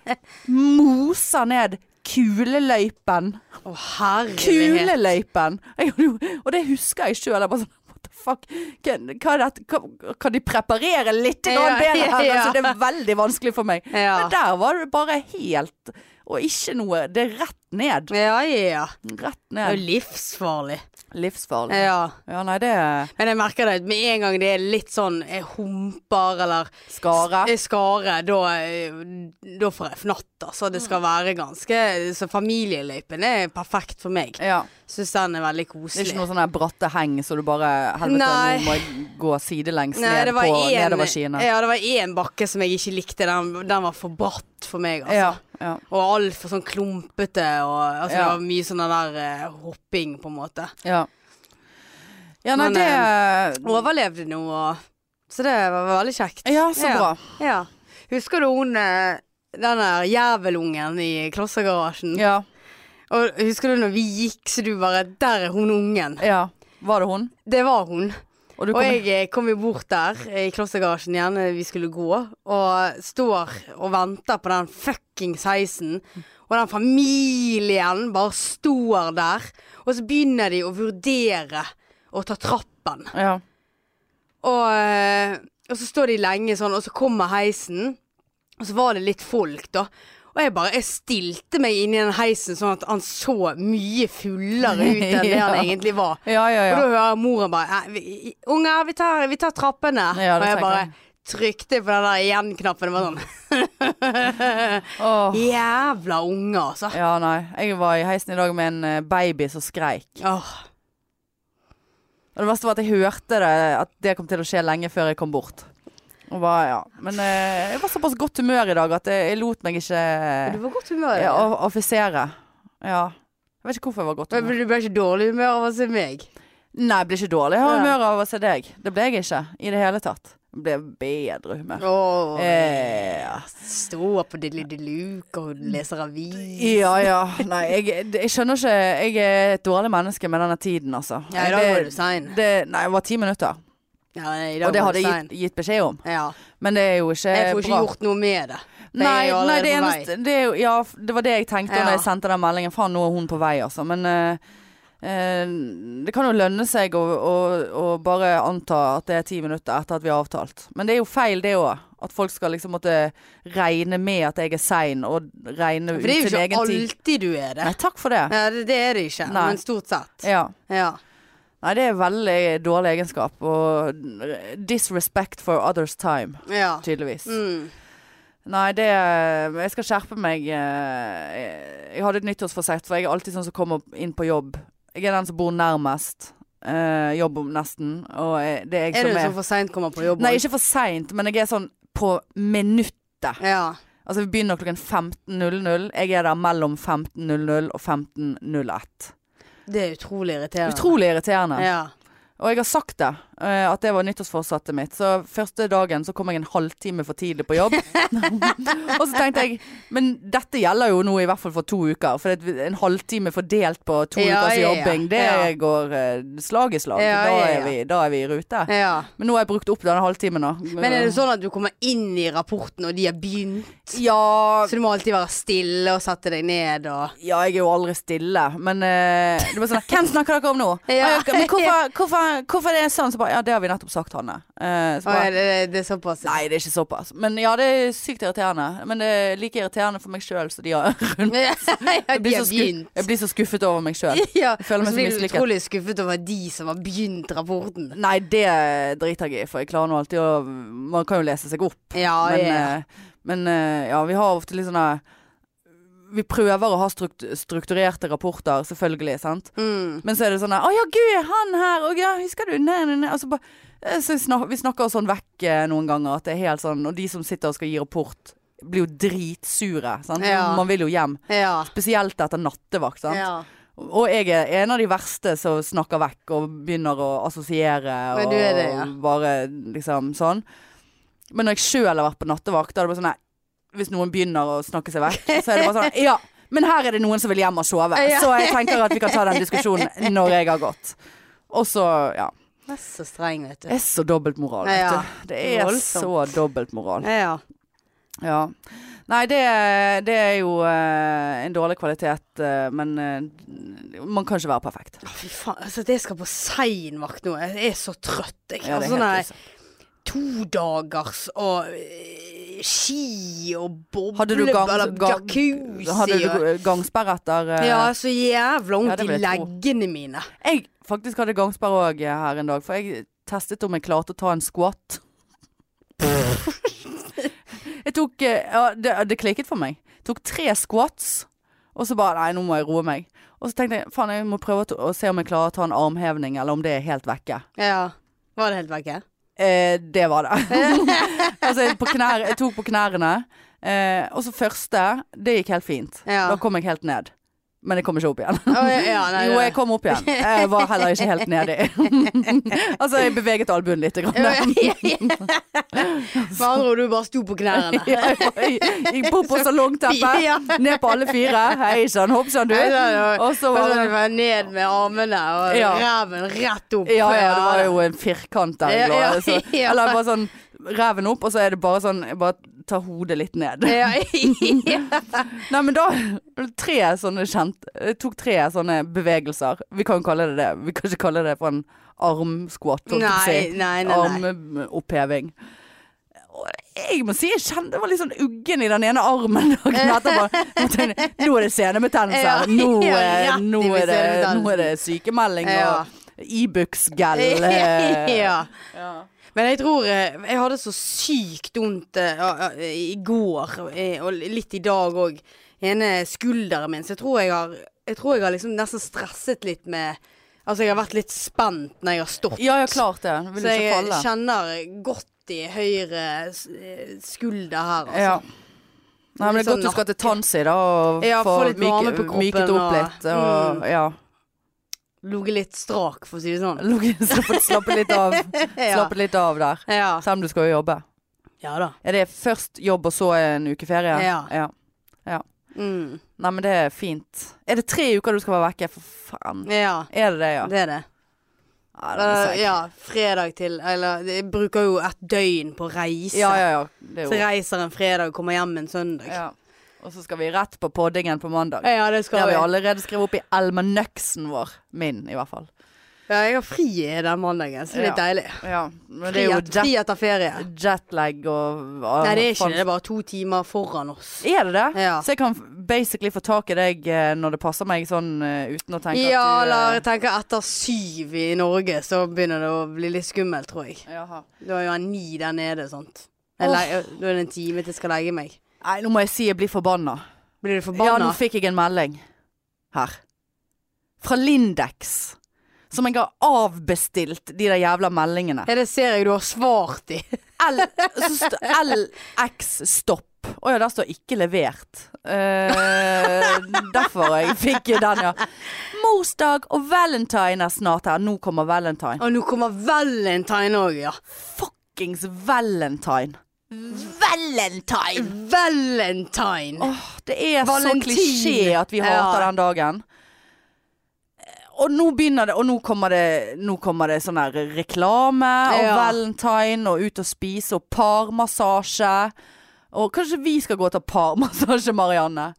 Speaker 1: moser ned kuleløypen.
Speaker 2: Å, herlighet.
Speaker 1: Kuleløypen! Jeg hadde jo- Og det husker jeg sjøl. Sånn, what the fuck? Kan, hva er dette? Kan, kan de preparere litt grann
Speaker 2: Ja,
Speaker 1: bedre her?
Speaker 2: ja.
Speaker 1: Altså, det er veldig vanskelig for meg.
Speaker 2: Ja.
Speaker 1: Men der var det bare helt Og ikke noe. Det er rett ned.
Speaker 2: Ja, ja, ja.
Speaker 1: Rett
Speaker 2: Det er
Speaker 1: ned.
Speaker 2: jo livsfarlig.
Speaker 1: Livsfarlig.
Speaker 2: Ja.
Speaker 1: Ja, nei, det er
Speaker 2: Men jeg merker det at med en gang det er litt sånn eh, humper eller
Speaker 1: skare.
Speaker 2: eh, skare, da, eh, da får jeg fnatt, altså. Det
Speaker 1: Mm.
Speaker 2: skal være ganske Så familieløypen er perfekt for meg.
Speaker 1: Ja.
Speaker 2: Syns den er veldig
Speaker 1: Det er
Speaker 2: koselig.
Speaker 1: ikke noe sånn her bratte heng så du bare Helvete,
Speaker 2: Nei.
Speaker 1: nå må jeg gå sidelengs
Speaker 2: Nei,
Speaker 1: ned
Speaker 2: det var
Speaker 1: på
Speaker 2: en-
Speaker 1: nedoverskiene.
Speaker 2: Ja, det var én bakke som jeg ikke likte. Den, den var for bratt for meg, altså.
Speaker 1: Ja, ja.
Speaker 2: Og altfor sånn klumpete, og
Speaker 1: Ja.
Speaker 2: altså, det var mye sånn der eh, hopping, på en måte.
Speaker 1: Ja. Ja, nei,
Speaker 2: Men, eh,
Speaker 1: det
Speaker 2: Overlevde nå, og Så det var veldig kjekt.
Speaker 1: Ja, så bra.
Speaker 2: Ja. Husker du hun eh, den der jævelungen i klossergarasjen?
Speaker 1: Ja,
Speaker 2: Og husker du når vi gikk, så du bare Der er hun ungen.
Speaker 1: ja. Var det hun?
Speaker 2: Det var hun.
Speaker 1: Og du
Speaker 2: Og
Speaker 1: kom
Speaker 2: jeg eh, kom jo bort der eh, i klossergarasjen igjen eh, vi skulle gå, og står og venter på den fuckings heisen. Og den familien bare står der, og så begynner de å vurdere å ta trappen.
Speaker 1: Ja.
Speaker 2: Og, eh, og så står de lenge sånn, og så kommer heisen, og så var det litt folk, da. Og jeg bare jeg stilte meg inn i den heisen sånn at han så mye fullere ut enn det han
Speaker 1: Ja.
Speaker 2: egentlig var.
Speaker 1: Ja, ja, ja.
Speaker 2: Og da hører moren bare «Nei, vi- Unger, vi tar, vi tar trappene.
Speaker 1: Ja, det
Speaker 2: og jeg
Speaker 1: tenker
Speaker 2: bare
Speaker 1: jeg.
Speaker 2: trykte på den der igjen-knappen. og bare sånn
Speaker 1: Åh.
Speaker 2: Jævla unger, altså.
Speaker 1: Ja, nei. Jeg var i heisen i dag med en eh, baby som skreik.
Speaker 2: Åh.
Speaker 1: Og det verste var at jeg hørte det, at det kom til å skje lenge før jeg kom bort. Og bare, ja. Men eh, jeg var såpass godt humør i dag at jeg, jeg lot meg ikke
Speaker 2: Du var godt humør.
Speaker 1: ja,
Speaker 2: Ja,
Speaker 1: o- offisere. Ja. Jeg vet ikke hvorfor jeg var godt
Speaker 2: men
Speaker 1: humør.
Speaker 2: du ble ikke dårlig humør av å se meg?
Speaker 1: Nei, jeg ble ikke dårlig av
Speaker 2: Ja.
Speaker 1: humør av å se deg. Det ble jeg ikke i det hele tatt. Jeg ble bedre humør.
Speaker 2: Åh.
Speaker 1: Eh,
Speaker 2: Stå på Diddly de Luke og leser avis.
Speaker 1: Ja, ja. Nei, jeg, jeg skjønner ikke Jeg er et dårlig menneske med denne tiden, altså.
Speaker 2: Ja, i dag var du sein.
Speaker 1: Det, nei, det var ti minutter.
Speaker 2: Ja, nei, i dag
Speaker 1: Og det
Speaker 2: var
Speaker 1: hadde
Speaker 2: du
Speaker 1: jeg
Speaker 2: sein.
Speaker 1: gitt, gitt beskjed om.
Speaker 2: Ja.
Speaker 1: Men det er jo ikke
Speaker 2: Jeg får ikke
Speaker 1: bra.
Speaker 2: gjort noe med det. For jeg er
Speaker 1: Nei,
Speaker 2: jo
Speaker 1: nei det,
Speaker 2: allerede på
Speaker 1: eneste, det, er jo, ja, f- det var det jeg tenkte
Speaker 2: Ja.
Speaker 1: da jeg sendte den meldingen. Faen, nå er hun på vei, altså. Men eh, eh, det kan jo lønne seg å, å, å bare anta at det er ti minutter etter at vi har avtalt. Men det er jo feil, det òg. At folk skal liksom måtte regne med at jeg er sein, og regne
Speaker 2: vei.
Speaker 1: ut
Speaker 2: For det
Speaker 1: sin
Speaker 2: er jo ikke
Speaker 1: egen tid.
Speaker 2: alltid du er det.
Speaker 1: Nei, takk for det.
Speaker 2: Ja, det, det er det ikke,
Speaker 1: Nei.
Speaker 2: men stort sett.
Speaker 1: Ja.
Speaker 2: Ja.
Speaker 1: Nei, det er veldig dårlig egenskap. Og disrespect for others time,
Speaker 2: ja.
Speaker 1: tydeligvis.
Speaker 2: Mm.
Speaker 1: Nei, det Jeg skal skjerpe meg. eh, Jeg hadde et nyttårsforsett, for jeg er alltid sånn som kommer inn på jobb. Jeg er den som bor nærmest eh, jobb, nesten. Og jeg- det er jeg
Speaker 2: Er du
Speaker 1: som er
Speaker 2: som for seint kommer på jobb?
Speaker 1: Nei,
Speaker 2: også?
Speaker 1: ikke for seint, men jeg er sånn på minuttet.
Speaker 2: Ja.
Speaker 1: Altså, vi begynner klokken 15.00. Jeg er der mellom 15.00 og 15.01.
Speaker 2: Det er utrolig irriterende.
Speaker 1: Utrolig irriterende.
Speaker 2: Ja.
Speaker 1: Og jeg har sagt det. eh, at det var nyttårsforsettet mitt. Så første dagen så kom jeg en halvtime for tidlig på jobb. og så tenkte jeg Men dette gjelder jo nå i hvert fall for to uker. For det- en halvtime fordelt på to
Speaker 2: Ja,
Speaker 1: ukers
Speaker 2: ja, ja.
Speaker 1: jobbing, det
Speaker 2: Ja.
Speaker 1: går eh, slag i slag.
Speaker 2: Ja,
Speaker 1: da,
Speaker 2: ja,
Speaker 1: er
Speaker 2: ja.
Speaker 1: vi, da er vi i rute.
Speaker 2: Ja.
Speaker 1: Men nå har jeg brukt opp denne halvtimen, da.
Speaker 2: Men er det sånn at du kommer inn i rapporten, og de har begynt?
Speaker 1: Ja,
Speaker 2: Så du må alltid være stille og sette deg ned og
Speaker 1: Ja, jeg er jo aldri stille, men eh, det var sånn Hvem snakker dere om nå?
Speaker 2: Ja.
Speaker 1: «Ah, Men hvorfor, hvorfor, hvorfor er det sånn? Så bare Ja, det har vi nettopp sagt, Hanne. Eh, så
Speaker 2: Å, ja,
Speaker 1: bare,
Speaker 2: det, det er såpass?
Speaker 1: Nei, det er ikke såpass. Men ja, det er sykt irriterende. Men det er like irriterende for meg sjøl som de har rundt.
Speaker 2: ja,
Speaker 1: Jeg
Speaker 2: de
Speaker 1: blir,
Speaker 2: har
Speaker 1: så sku-
Speaker 2: begynt.
Speaker 1: jeg blir så skuffet over meg sjøl.
Speaker 2: Ja,
Speaker 1: Jeg føler meg
Speaker 2: og
Speaker 1: så
Speaker 2: blir du
Speaker 1: mislykket.
Speaker 2: utrolig skuffet over de som har begynt rapporten.
Speaker 1: Nei, det driter jeg i, for jeg klarer nå alltid å Man kan jo lese seg opp.
Speaker 2: Ja,
Speaker 1: men,
Speaker 2: ja.
Speaker 1: eh, men eh, ja, vi har ofte litt sånne Vi prøver å ha strukt strukturerte rapporter, selvfølgelig, sant.
Speaker 2: Mm.
Speaker 1: Men så er det sånn her, Å ja, gud, er han her? Og ja, husker du? Nei, nei, nei. Altså, bare- eh, så snak, vi snakker oss sånn vekk eh, noen ganger at det er helt sånn Og de som sitter og skal gi rapport, blir jo dritsure. Sant?
Speaker 2: Ja.
Speaker 1: Man vil jo hjem.
Speaker 2: Ja.
Speaker 1: Spesielt etter nattevakt. Sant?
Speaker 2: ja.
Speaker 1: Og jeg er en av de verste som snakker vekk og begynner å assosiere
Speaker 2: Men
Speaker 1: og
Speaker 2: du er det, ja.
Speaker 1: bare liksom sånn. Men når jeg sjøl har vært på nattevakt, da er det bare sånn nei, Hvis noen begynner å snakke seg vekk, så er det bare sånn Ja, men her er det noen som vil hjem og sove.
Speaker 2: Ja.
Speaker 1: Så jeg tenker at vi kan ta den diskusjonen når jeg har gått. Og så, ja.
Speaker 2: Vær så streng, vet
Speaker 1: Det
Speaker 2: du.
Speaker 1: er så dobbeltmoral,
Speaker 2: Ja.
Speaker 1: vet du. Det er
Speaker 2: Voldsomt.
Speaker 1: så dobbeltmoral.
Speaker 2: Ja.
Speaker 1: Ja. Nei, det, det er jo eh, en dårlig kvalitet, eh, men eh, man kan ikke være perfekt.
Speaker 2: Å, Fy faen, altså at jeg skal på seinvakt nå. Jeg er så trøtt. Jeg.
Speaker 1: Ja, det er helt
Speaker 2: altså, sånn her
Speaker 1: krise.
Speaker 2: todagers og øh, ski og
Speaker 1: Hadde du
Speaker 2: boble...
Speaker 1: gang-
Speaker 2: Eller
Speaker 1: gang-
Speaker 2: jacuzzi
Speaker 1: Hadde du
Speaker 2: og
Speaker 1: g- gangsperre etter eh,
Speaker 2: Ja, så jævla
Speaker 1: Ja,
Speaker 2: vondt
Speaker 1: det
Speaker 2: i
Speaker 1: vil jeg tro.
Speaker 2: leggene mine.
Speaker 1: Jeg faktisk hadde gangsperre òg her en dag, for jeg testet om jeg klarte å ta en squat. jeg tok eh, Ja, det, det klikket for meg. Tok tre squats, og så bare Nei, nå må jeg roe meg. Og så tenkte jeg faen, jeg må prøve å, ta- å se om jeg klarer å ta en armhevning, eller om det er helt vekke.
Speaker 2: Ja. Var det helt vekke?
Speaker 1: Eh, det var det. altså, jeg, på knær, jeg tok på knærne, eh, og så første Det gikk helt fint.
Speaker 2: Ja.
Speaker 1: Da kom jeg helt ned. Men jeg kom ikke opp igjen.
Speaker 2: Å, ja, ja, nei,
Speaker 1: Jo,
Speaker 2: det-
Speaker 1: jeg kom opp igjen. Jeg var heller ikke helt nedi. altså, jeg beveget albuen litt. Grann.
Speaker 2: Ja, ja, ja. Med andre ord, du bare sto på knærne.
Speaker 1: Ja, jeg var- jeg Gikk bort på salongteppet,
Speaker 2: Ja.
Speaker 1: ned på alle fire. Hei sann, hopp sann, du.
Speaker 2: Nei, nei, nei.
Speaker 1: Og så
Speaker 2: Og så
Speaker 1: var
Speaker 2: var
Speaker 1: det
Speaker 2: det bare ned med armene og
Speaker 1: Ja.
Speaker 2: ræven rett opp.
Speaker 1: ja, ja, det var jo en firkant der. jeg
Speaker 2: Ja, ja,
Speaker 1: lå, så-
Speaker 2: ja.
Speaker 1: Eller bare sånn reven opp, og så er det bare sånn jeg Bare ta hodet litt ned.
Speaker 2: Ja, ja.
Speaker 1: Nei, men da tre sånne kjent, Jeg tok tre sånne bevegelser. Vi kan jo kalle det det. Vi kan ikke kalle det for en armsquat. holdt jeg på å
Speaker 2: Nei,
Speaker 1: si.
Speaker 2: nei, nei, nei.
Speaker 1: Armoppheving. Og Jeg må si jeg kjente det var litt sånn uggen i den ene armen dagen etterpå. Nå tenkte jeg, Nå er det senebetennelse.
Speaker 2: Ja,
Speaker 1: her. Nå,
Speaker 2: ja,
Speaker 1: eh,
Speaker 2: rett i
Speaker 1: nå, er det,
Speaker 2: senebetennelsen.
Speaker 1: nå er det sykemelding
Speaker 2: Ja.
Speaker 1: og Ibux-gel. eh.
Speaker 2: ja.
Speaker 1: Ja.
Speaker 2: Men jeg tror eh, Jeg hadde så sykt vondt eh, ja, ja, i går, eh, og litt i dag òg. Ene skulderen min. Så jeg tror jeg har Jeg tror jeg har liksom nesten stresset litt med Altså, jeg har vært litt spent når jeg har stått.
Speaker 1: ja, ja, klart det. Vil
Speaker 2: Så
Speaker 1: ikke
Speaker 2: jeg
Speaker 1: falle.
Speaker 2: kjenner godt i høyre s- eh, skulder her, altså.
Speaker 1: Ja. Nei, men det
Speaker 2: Litt
Speaker 1: er godt
Speaker 2: sånn
Speaker 1: du skal til Tansy, da, og
Speaker 2: Ja,
Speaker 1: få
Speaker 2: få litt varme
Speaker 1: myke-
Speaker 2: på kroppen,
Speaker 1: myket opp
Speaker 2: og- Mm.
Speaker 1: litt. Og, ja.
Speaker 2: Ligget litt strak, for å si det sånn.
Speaker 1: Lugge- slappe- Slappe litt av.
Speaker 2: Ja.
Speaker 1: Slappe litt av der.
Speaker 2: Ja.
Speaker 1: Selv om du skal jo jobbe.
Speaker 2: ja da.
Speaker 1: Er det først jobb og så en uke ferie?
Speaker 2: Ja.
Speaker 1: ja.
Speaker 2: Mm.
Speaker 1: Nei, men det er fint. Er det tre uker du skal være vekke? For faen.
Speaker 2: Ja,
Speaker 1: Er det det, ja?
Speaker 2: det er det.
Speaker 1: Ja, det er
Speaker 2: Eh,
Speaker 1: seigt.
Speaker 2: ja, fredag til Eller jeg bruker jo et døgn på å reise.
Speaker 1: ja, ja, ja. Det
Speaker 2: Så
Speaker 1: er jo.
Speaker 2: reiser en fredag og kommer hjem en søndag. Ja,
Speaker 1: Ja. Og så skal vi rett på poddingen på mandag.
Speaker 2: det
Speaker 1: Det
Speaker 2: skal
Speaker 1: har vi
Speaker 2: vi.
Speaker 1: allerede skrevet opp i almanøksen vår. Min, i hvert fall.
Speaker 2: Ja, jeg har fri den mandagen, så det er litt
Speaker 1: Ja.
Speaker 2: deilig.
Speaker 1: Ja. Men det
Speaker 2: Fri,
Speaker 1: er jo
Speaker 2: et,
Speaker 1: jet,
Speaker 2: fri etter ferie.
Speaker 1: jetlag og
Speaker 2: Nei, det er ikke det. Det er bare to timer foran oss.
Speaker 1: Er det det?
Speaker 2: Ja.
Speaker 1: Så jeg kan basically få tak i deg eh, når det passer meg, sånn eh, uten å tenke
Speaker 2: Ja,
Speaker 1: at du
Speaker 2: eller
Speaker 1: eh,
Speaker 2: jeg tenker etter syv i Norge, så begynner det å bli litt skummelt, tror jeg.
Speaker 1: jaha.
Speaker 2: Da er jo en ni der nede, sant.
Speaker 1: Åh.
Speaker 2: Jeg le- Da er det en time til jeg skal legge meg.
Speaker 1: Nei, nå må jeg si jeg blir forbanna.
Speaker 2: Blir du
Speaker 1: Ja, nå
Speaker 2: forbanna?
Speaker 1: fikk jeg en melding her. Fra Lindex. Som jeg har avbestilt de der jævla meldingene.
Speaker 2: Ja, det ser jeg du har svart i.
Speaker 1: L, så st- LX stopp. Å ja, der står 'ikke levert'. Eh, derfor jeg fikk den, ja. Morsdag og valentine er snart her. Nå kommer valentine.
Speaker 2: Og nå kommer valentine òg, ja.
Speaker 1: Fuckings valentine. Valentine!
Speaker 2: Valentine.
Speaker 1: Åh, det er
Speaker 2: Valentin.
Speaker 1: så klisjé at vi hater
Speaker 2: Ja.
Speaker 1: den dagen. Og nå begynner det, og nå kommer det, nå kommer det sånn her reklame og
Speaker 2: Ja.
Speaker 1: valentine og ut og spise og parmassasje. Og kanskje vi skal gå og ta parmassasje, Marianne?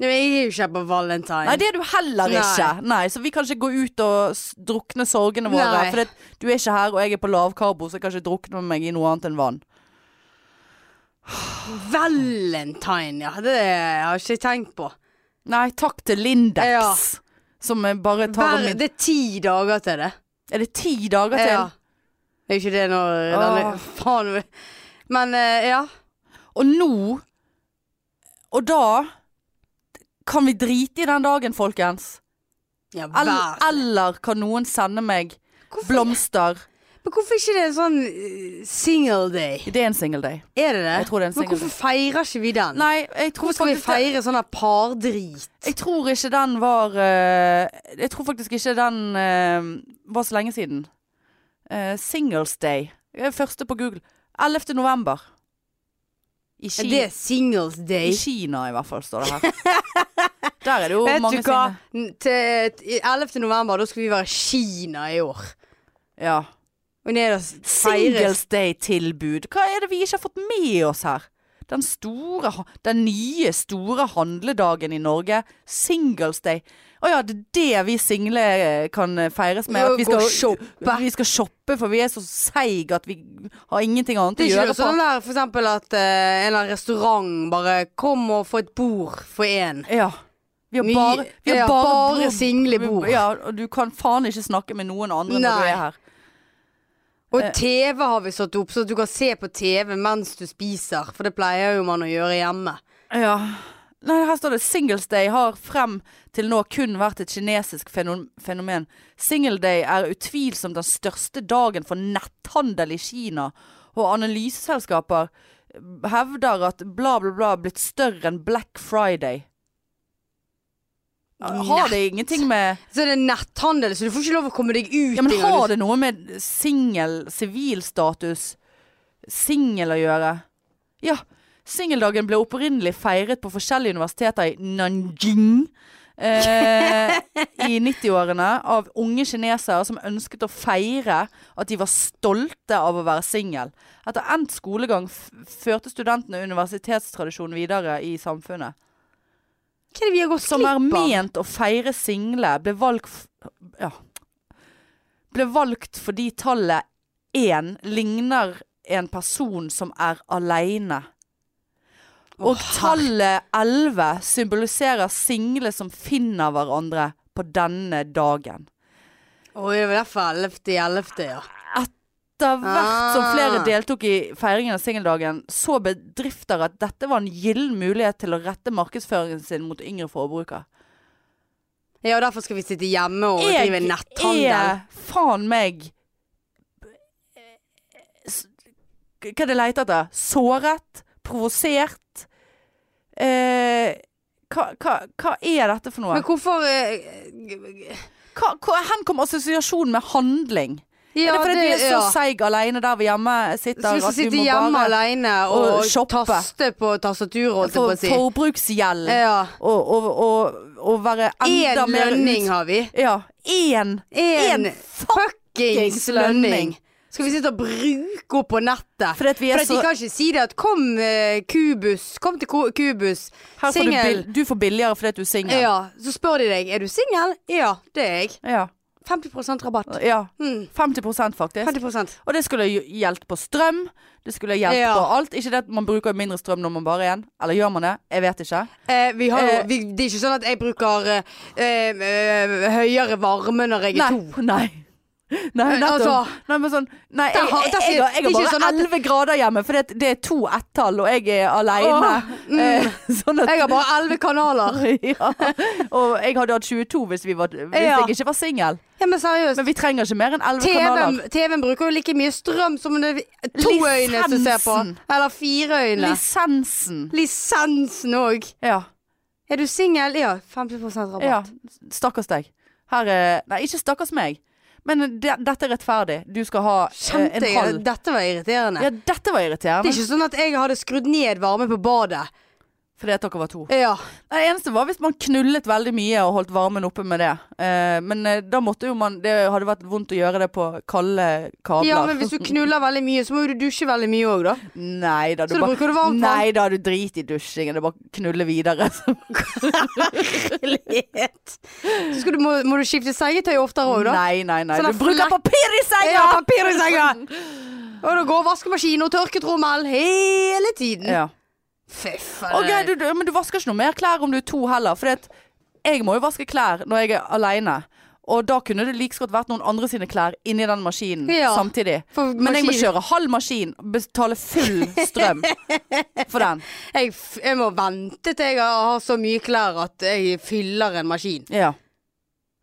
Speaker 2: Nå, Jeg er jo ikke her på valentine.
Speaker 1: Nei, det er du heller
Speaker 2: Nei.
Speaker 1: ikke. Nei, Så vi kan ikke gå ut og s- drukne sorgene våre.
Speaker 2: Nei.
Speaker 1: For det, du er ikke her, og jeg er på lavkarbo, så jeg kan ikke drukne meg i noe annet enn vann.
Speaker 2: Valentine, ja. Det har ikke jeg tenkt på.
Speaker 1: Nei, takk til Lindex.
Speaker 2: Ja.
Speaker 1: Som jeg bare tar
Speaker 2: Hver,
Speaker 1: min
Speaker 2: det er ti dager til det.
Speaker 1: Er det ti dager til?
Speaker 2: Ja. Det er ikke det når
Speaker 1: Åh.
Speaker 2: denne, Faen. Men eh, ja.
Speaker 1: Og nå Og da kan vi drite i den dagen, folkens.
Speaker 2: ja
Speaker 1: El-
Speaker 2: vær-
Speaker 1: eller kan noen sende meg
Speaker 2: Hvorfor-
Speaker 1: blomster?
Speaker 2: Men hvorfor ikke det er sånn eh, single day?
Speaker 1: Det er en single day.
Speaker 2: Er det det?
Speaker 1: Jeg tror det er en
Speaker 2: Eh? Men
Speaker 1: single
Speaker 2: hvorfor feirer ikke vi den?
Speaker 1: Nei, jeg tror,
Speaker 2: hvorfor skal vi
Speaker 1: faktisk-
Speaker 2: feire sånn her pardrit?
Speaker 1: Jeg tror ikke den var eh, Jeg tror faktisk ikke den eh, var så lenge siden. Eh, singles Day. Jeg er første på Google. 11. november. I,
Speaker 2: Er
Speaker 1: Ki
Speaker 2: det singles
Speaker 1: I
Speaker 2: day?
Speaker 1: Kina, i hvert fall, står det her. Der er det jo
Speaker 2: Vet
Speaker 1: mange
Speaker 2: du hva?
Speaker 1: sine.
Speaker 2: N- Til til 11. november, da skal vi være i Kina i år.
Speaker 1: Ja.
Speaker 2: Og ned og feire
Speaker 1: Singles Day-tilbud. Hva er det vi ikke har fått med oss her? Den store, ha- den nye store handledagen i Norge. Singles Day. Å ja, det er det vi single eh, kan eh, feires med.
Speaker 2: Ja,
Speaker 1: At vi
Speaker 2: gå
Speaker 1: skal
Speaker 2: og shoppe.
Speaker 1: Vi skal shoppe, for vi er så seige at vi har ingenting annet å
Speaker 2: Det er ikke
Speaker 1: gjøre.
Speaker 2: noe sånn der for eksempel at eh, en eller annen restaurant bare Kom og få et bord for én.
Speaker 1: på. Ja. Vi har
Speaker 2: Ny-
Speaker 1: bare, vi har
Speaker 2: ja,
Speaker 1: bare,
Speaker 2: bare
Speaker 1: bord-
Speaker 2: single bord.
Speaker 1: Ja, og du kan faen ikke snakke med noen andre når
Speaker 2: Nei.
Speaker 1: du er her.
Speaker 2: Og
Speaker 1: Eh.
Speaker 2: TV har vi satt opp, så at du kan se på TV mens du spiser. For det pleier jo man å gjøre hjemme.
Speaker 1: Ja. Nei, her står det Singles Day har frem til nå kun vært et kinesisk feno- fenomen. Single Day er utvilsomt den største dagen for netthandel i Kina, og analyseselskaper hevder at bla, bla, bla er blitt større enn Black Friday. Har det ingenting med
Speaker 2: Så er det netthandel, så du får ikke lov å komme deg ut
Speaker 1: Ja, men
Speaker 2: engang.
Speaker 1: har det noe med singel, sivilstatus, singel å gjøre? Ja. Singeldagen ble opprinnelig feiret på forskjellige universiteter i Nanjing eh, i 90-årene av unge kinesere som ønsket å feire at de var stolte av å være singel. Etter endt skolegang f førte studentene universitetstradisjonen videre i samfunnet
Speaker 2: Hva er det vi har gått
Speaker 1: som er
Speaker 2: glipp av?
Speaker 1: ment å feire single, ble valgt f- ja, ble valgt fordi tallet én ligner en person som er aleine. Og tallet elleve symboliserer single som finner hverandre på denne dagen.
Speaker 2: Å, det var derfor 11. i 11., ja.
Speaker 1: Etter hvert som
Speaker 2: Ah.
Speaker 1: flere deltok i feiringen av singeldagen, så bedrifter at dette var en gyllen mulighet til å rette markedsføringen sin mot yngre forbrukere.
Speaker 2: Ja, og derfor skal vi sitte hjemme og drive netthandel.
Speaker 1: er faen meg s- Hva er det jeg leter etter? Såret? Provosert? Eh, hva, hva, hva er dette for noe?
Speaker 2: Men hvorfor eh,
Speaker 1: Hva, hva, hen kom assosiasjonen med handling?
Speaker 2: Ja,
Speaker 1: er det fordi vi er så
Speaker 2: ja.
Speaker 1: seige aleine der vi hjemme sitter?
Speaker 2: Så
Speaker 1: at
Speaker 2: vi skal
Speaker 1: vi
Speaker 2: sitte
Speaker 1: må
Speaker 2: hjemme
Speaker 1: bare-
Speaker 2: alene og,
Speaker 1: og shoppe.
Speaker 2: taste på tastaturet, holdt jeg på
Speaker 1: For
Speaker 2: å si.
Speaker 1: forbruksgjeld.
Speaker 2: Ja.
Speaker 1: Og, og, og, og være
Speaker 2: Én
Speaker 1: enda mer
Speaker 2: lønning har vi.
Speaker 1: ut- Ja. Én
Speaker 2: Én
Speaker 1: En
Speaker 2: fuckings lønning.
Speaker 1: lønning.
Speaker 2: Skal vi sitte og bruke opp på nettet?
Speaker 1: Fordi at vi er
Speaker 2: For at
Speaker 1: så
Speaker 2: de kan ikke si det at kom eh, Kubus, kom til Ko- Kubus,
Speaker 1: Her får du,
Speaker 2: singel.
Speaker 1: bill- du får billigere fordi at du er singel.
Speaker 2: Ja, så spør de deg, er du singel? Ja, det er jeg.
Speaker 1: Ja.
Speaker 2: 50 rabatt.
Speaker 1: ja.
Speaker 2: Hmm,
Speaker 1: 50 faktisk.
Speaker 2: 50
Speaker 1: Og det skulle jo gjeldt på strøm. Det skulle gjeldt
Speaker 2: Ja.
Speaker 1: på alt. Ikke det at man bruker mindre strøm når man bare er en. Eller gjør man det? Jeg vet ikke.
Speaker 2: eh, vi har jo,
Speaker 1: Eh.
Speaker 2: vi, Det er ikke sånn at jeg bruker eh, eh, eh, høyere varme når jeg
Speaker 1: Nei.
Speaker 2: er to.
Speaker 1: Nei. Nei,
Speaker 2: Nei,
Speaker 1: nettopp.
Speaker 2: altså.
Speaker 1: nei, men sånn Nei,
Speaker 2: Der
Speaker 1: jeg,
Speaker 2: har-
Speaker 1: jeg,
Speaker 2: der
Speaker 1: jeg,
Speaker 2: sier-
Speaker 1: har- jeg
Speaker 2: det er
Speaker 1: har
Speaker 2: ikke
Speaker 1: bare
Speaker 2: sånn at-
Speaker 1: 11 grader hjemme, for det, det er to ett-tall, og jeg er alene.
Speaker 2: Åh, mm.
Speaker 1: Eh, sånn at
Speaker 2: Jeg har bare elleve kanaler.
Speaker 1: ja. Og jeg hadde hatt 22 hvis, vi var, hvis
Speaker 2: Ja.
Speaker 1: jeg ikke var singel.
Speaker 2: Ja, men seriøst.
Speaker 1: Men vi trenger ikke mer enn 11
Speaker 2: TV-en
Speaker 1: kanaler.
Speaker 2: TV bruker jo like mye strøm som det er to øyne som ser på.
Speaker 1: Lisensen.
Speaker 2: Eller fire øyne.
Speaker 1: Lisensen.
Speaker 2: Lisensen òg.
Speaker 1: Ja.
Speaker 2: Er du singel? Ja, 50 rabatt.
Speaker 1: ja. Stakkars deg. Her er Nei, ikke stakkars meg. Men det, dette er rettferdig. Du skal ha eh, en
Speaker 2: Kjente jeg
Speaker 1: halv.
Speaker 2: Dette var irriterende.
Speaker 1: Ja, dette var
Speaker 2: Det
Speaker 1: irriterende.
Speaker 2: er ikke sånn at jeg hadde skrudd ned varme på badet.
Speaker 1: Fordi at dere var to.
Speaker 2: Ja.
Speaker 1: Det eneste var hvis man knullet veldig mye og holdt varmen oppe med det. Eh, men eh, da måtte jo man Det hadde vært vondt å gjøre det på kalde kabler.
Speaker 2: ja, men hvis du knuller veldig mye, så må jo du dusje veldig mye òg, da.
Speaker 1: Nei da, du
Speaker 2: Så da bruker du varmt vann.
Speaker 1: Nei da, du driter i dusjingen. Det er bare å knulle videre.
Speaker 2: Herlighet. Så skal du, må, må du skifte sengetøy oftere òg, da.
Speaker 1: Nei, nei, nei.
Speaker 2: Sånn
Speaker 1: du
Speaker 2: der
Speaker 1: bruker
Speaker 2: flekk-
Speaker 1: papir i senga!
Speaker 2: Ja, papir i senga! Og da går vaskemaskin og tørketrommel hele tiden.
Speaker 1: Ja.
Speaker 2: Fy faen.
Speaker 1: Ok, du, du, men du vasker ikke noe mer klær om du er to heller. For jeg må jo vaske klær når jeg er aleine. Og da kunne det like så godt vært noen andre sine klær inni den maskinen
Speaker 2: Ja.
Speaker 1: samtidig.
Speaker 2: For
Speaker 1: Men jeg må
Speaker 2: maskin-
Speaker 1: kjøre halv maskin, betale full strøm for den.
Speaker 2: Jeg, f- jeg må vente til jeg har så mye klær at jeg fyller en maskin.
Speaker 1: Ja.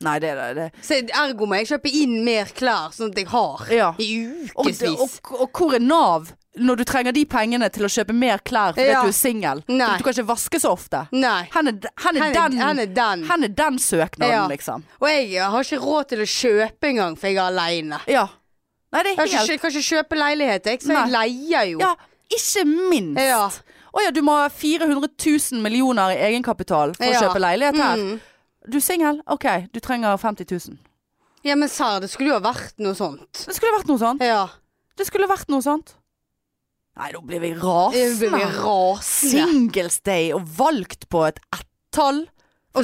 Speaker 1: Nei, det er det.
Speaker 2: Så ergo må jeg kjøpe inn mer klær, sånn at jeg har
Speaker 1: Ja.
Speaker 2: i
Speaker 1: Og,
Speaker 2: ukevis.
Speaker 1: og, og hvor er Nav når du trenger de pengene til å kjøpe mer klær fordi
Speaker 2: Ja.
Speaker 1: at du er singel? Du
Speaker 2: Nei.
Speaker 1: kan ikke vaske så ofte.
Speaker 2: Nei.
Speaker 1: Hen er, hen er
Speaker 2: Hen er-
Speaker 1: den,
Speaker 2: hen er den.
Speaker 1: hen er den søknaden,
Speaker 2: Ja.
Speaker 1: liksom.
Speaker 2: Og jeg har ikke råd til å kjøpe engang, for jeg er aleine.
Speaker 1: Ja. Nei, det
Speaker 2: Jeg
Speaker 1: er
Speaker 2: har
Speaker 1: helt
Speaker 2: ikke, kan ikke kjøpe leilighet, jeg, så jeg leier jo.
Speaker 1: Ja, ikke minst.
Speaker 2: Ja.
Speaker 1: Å ja, du må ha 400 000 millioner i egenkapital for
Speaker 2: Ja.
Speaker 1: å kjøpe leilighet her.
Speaker 2: Mm.
Speaker 1: Du er singel? OK, du trenger 50 000.
Speaker 2: Ja, men serr, det skulle jo ha vært noe sånt.
Speaker 1: Det skulle vært noe sånt.
Speaker 2: Ja.
Speaker 1: Det skulle vært noe sånt. Nei, nå blir vi
Speaker 2: Jeg blir
Speaker 1: rasende.
Speaker 2: rasende.
Speaker 1: Singles Day og valgt på et ett-tall.
Speaker 2: Og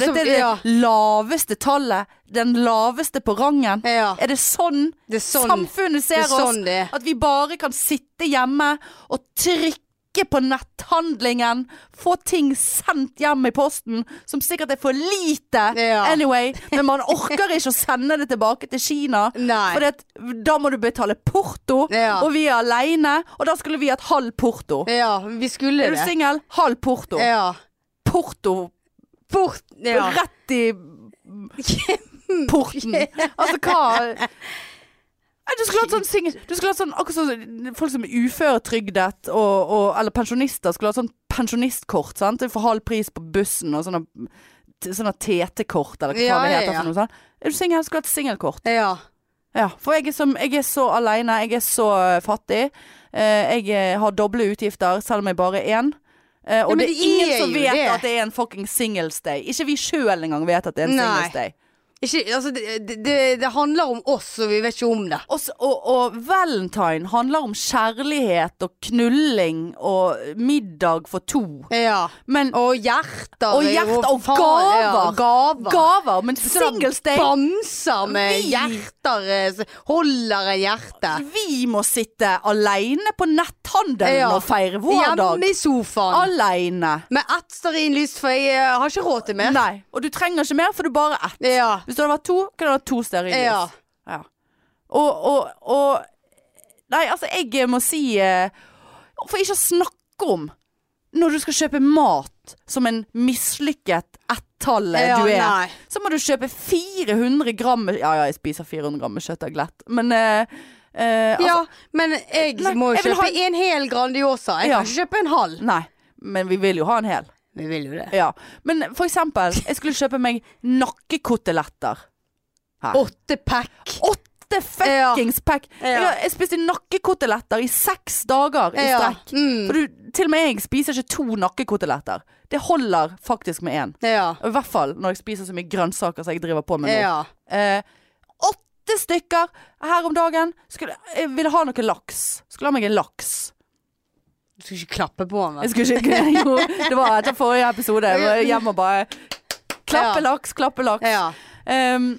Speaker 1: For
Speaker 2: så-
Speaker 1: dette er det
Speaker 2: ja.
Speaker 1: laveste tallet. Den laveste på rangen.
Speaker 2: Ja.
Speaker 1: Er det sånn,
Speaker 2: Det er sånn
Speaker 1: samfunnet
Speaker 2: det
Speaker 1: ser
Speaker 2: er. Sånn det er.
Speaker 1: oss? At vi bare kan sitte hjemme og trykke på netthandlingen, få ting sendt hjem i posten, som sikkert er for lite
Speaker 2: Ja.
Speaker 1: anyway, men man orker ikke å sende det tilbake til Kina.
Speaker 2: Nei.
Speaker 1: For da må du betale porto,
Speaker 2: Ja.
Speaker 1: og vi er aleine, og da skulle vi hatt halv porto.
Speaker 2: Ja, vi skulle
Speaker 1: Er du
Speaker 2: det.
Speaker 1: singel? Halv porto.
Speaker 2: Ja.
Speaker 1: Porto.
Speaker 2: Bort ja.
Speaker 1: Rett i porten. Altså hva Nei, Du skulle hatt sånn singel Du skulle hatt sånn akkurat sånn folk som er uføretrygdet og, og Eller pensjonister skulle hatt sånn pensjonistkort, sant. Det er For halv pris på bussen og sånne t- Sånne TT-kort, eller hva
Speaker 2: Ja,
Speaker 1: faen det
Speaker 2: ja,
Speaker 1: heter.
Speaker 2: ja.
Speaker 1: For noe, sånt. Er du singel, skulle hatt singelkort.
Speaker 2: Ja.
Speaker 1: Ja, for jeg er, som, jeg er så alene, jeg er så eh, fattig. Eh, jeg eh, har doble utgifter, selv om jeg bare er én. Eh, og
Speaker 2: men
Speaker 1: det er
Speaker 2: det
Speaker 1: ingen
Speaker 2: er
Speaker 1: som
Speaker 2: jo
Speaker 1: vet
Speaker 2: det.
Speaker 1: at det er en fucking singles day. Ikke vi sjøl engang vet at det er en
Speaker 2: Nei.
Speaker 1: singles day.
Speaker 2: Ikke, altså, det, det- det, det handler om oss, og vi vet ikke om det.
Speaker 1: Og, s- og, og valentine handler om kjærlighet og knulling og middag for to.
Speaker 2: Ja.
Speaker 1: Men
Speaker 2: Og hjerter.
Speaker 1: Og hjerter og
Speaker 2: faen,
Speaker 1: gaver.
Speaker 2: Ja, gaver.
Speaker 1: gaver! Men
Speaker 2: Sånn
Speaker 1: singles day
Speaker 2: Bamser med
Speaker 1: Vi-
Speaker 2: hjerter. eh, s- Holder en hjerte.
Speaker 1: Vi må sitte aleine på netthandelen
Speaker 2: Ja.
Speaker 1: og feire vår dag.
Speaker 2: Hjemme i sofaen.
Speaker 1: Aleine.
Speaker 2: Med ett stearinlys, for jeg eh, har ikke råd til mer.
Speaker 1: Nei. Og du trenger ikke mer, for du er bare ett.
Speaker 2: Ja.
Speaker 1: Hvis det hadde vært to, kunne det vært to stearinlys.
Speaker 2: Ja.
Speaker 1: Ja. Og, og, og Nei, altså, jeg må si eh, For ikke å snakke om når du skal kjøpe mat som en mislykket ett-tallet
Speaker 2: Ja,
Speaker 1: Eh, du er,
Speaker 2: nei.
Speaker 1: så må du kjøpe 400 gram med- Ja ja, jeg spiser 400 gram med kjøtt av glett, men eh, eh, altså,
Speaker 2: ja, men jeg
Speaker 1: Nei,
Speaker 2: må
Speaker 1: jeg vil
Speaker 2: kjøpe
Speaker 1: ha-
Speaker 2: en hel Grandiosa. Jeg
Speaker 1: Ja.
Speaker 2: kan ikke kjøpe en halv.
Speaker 1: Nei. Men vi vil jo ha en hel.
Speaker 2: Vi vil jo det.
Speaker 1: Ja. Men for eksempel, jeg skulle kjøpe meg nakkekoteletter.
Speaker 2: Åtte pack.
Speaker 1: Åtte fuckings pack.
Speaker 2: Ja.
Speaker 1: Jeg, jeg spiste nakkekoteletter i seks dager i
Speaker 2: Ja. Mm.
Speaker 1: strekk. For du, til og med jeg spiser ikke to nakkekoteletter. Det holder faktisk med én.
Speaker 2: Ja.
Speaker 1: Og I hvert fall når jeg spiser så mye grønnsaker som jeg driver på med nå.
Speaker 2: ja.
Speaker 1: Eh, åtte stykker her om dagen. Skulle, jeg ville ha noe laks. Skulle ha meg en laks.
Speaker 2: Du skal ikke klappe på den.
Speaker 1: Jeg
Speaker 2: vel?
Speaker 1: skulle ikke Jo, det var etter forrige episode. Jeg var hjemme og bare Klappe
Speaker 2: Ja.
Speaker 1: laks, klappe laks.
Speaker 2: Ja.
Speaker 1: Ehm,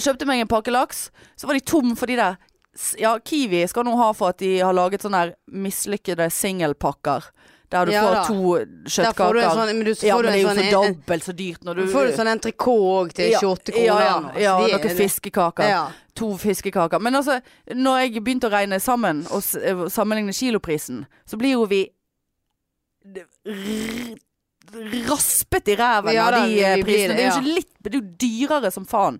Speaker 1: kjøpte meg en pakke laks, så var de tom for de der s- Ja, Kiwi skal nå ha for at de har laget sånne her mislykkede singelpakker. Der du
Speaker 2: Ja
Speaker 1: får
Speaker 2: da.
Speaker 1: to
Speaker 2: Der får du en
Speaker 1: kjøttkaker.
Speaker 2: sånn Men, du,
Speaker 1: ja,
Speaker 2: får,
Speaker 1: men
Speaker 2: du
Speaker 1: det er jo
Speaker 2: en sånn,
Speaker 1: for
Speaker 2: en,
Speaker 1: dobbelt så dyrt når du
Speaker 2: en, får du sånn entrecôte òg til 28 kroner.
Speaker 1: Ja, ja,
Speaker 2: nå, så
Speaker 1: ja
Speaker 2: det er-
Speaker 1: noen fiskekaker.
Speaker 2: Ja.
Speaker 1: To fiskekaker. Men altså, når jeg begynte å regne sammen, og s- eh, sammenligne kiloprisen, så blir jo vi d- r- raspet i ræven
Speaker 2: Ja
Speaker 1: av
Speaker 2: da,
Speaker 1: de
Speaker 2: vi-
Speaker 1: eh,
Speaker 2: vi blir
Speaker 1: prisene.
Speaker 2: det,
Speaker 1: Det er
Speaker 2: ja.
Speaker 1: jo ikke litt Det er jo dyrere som faen.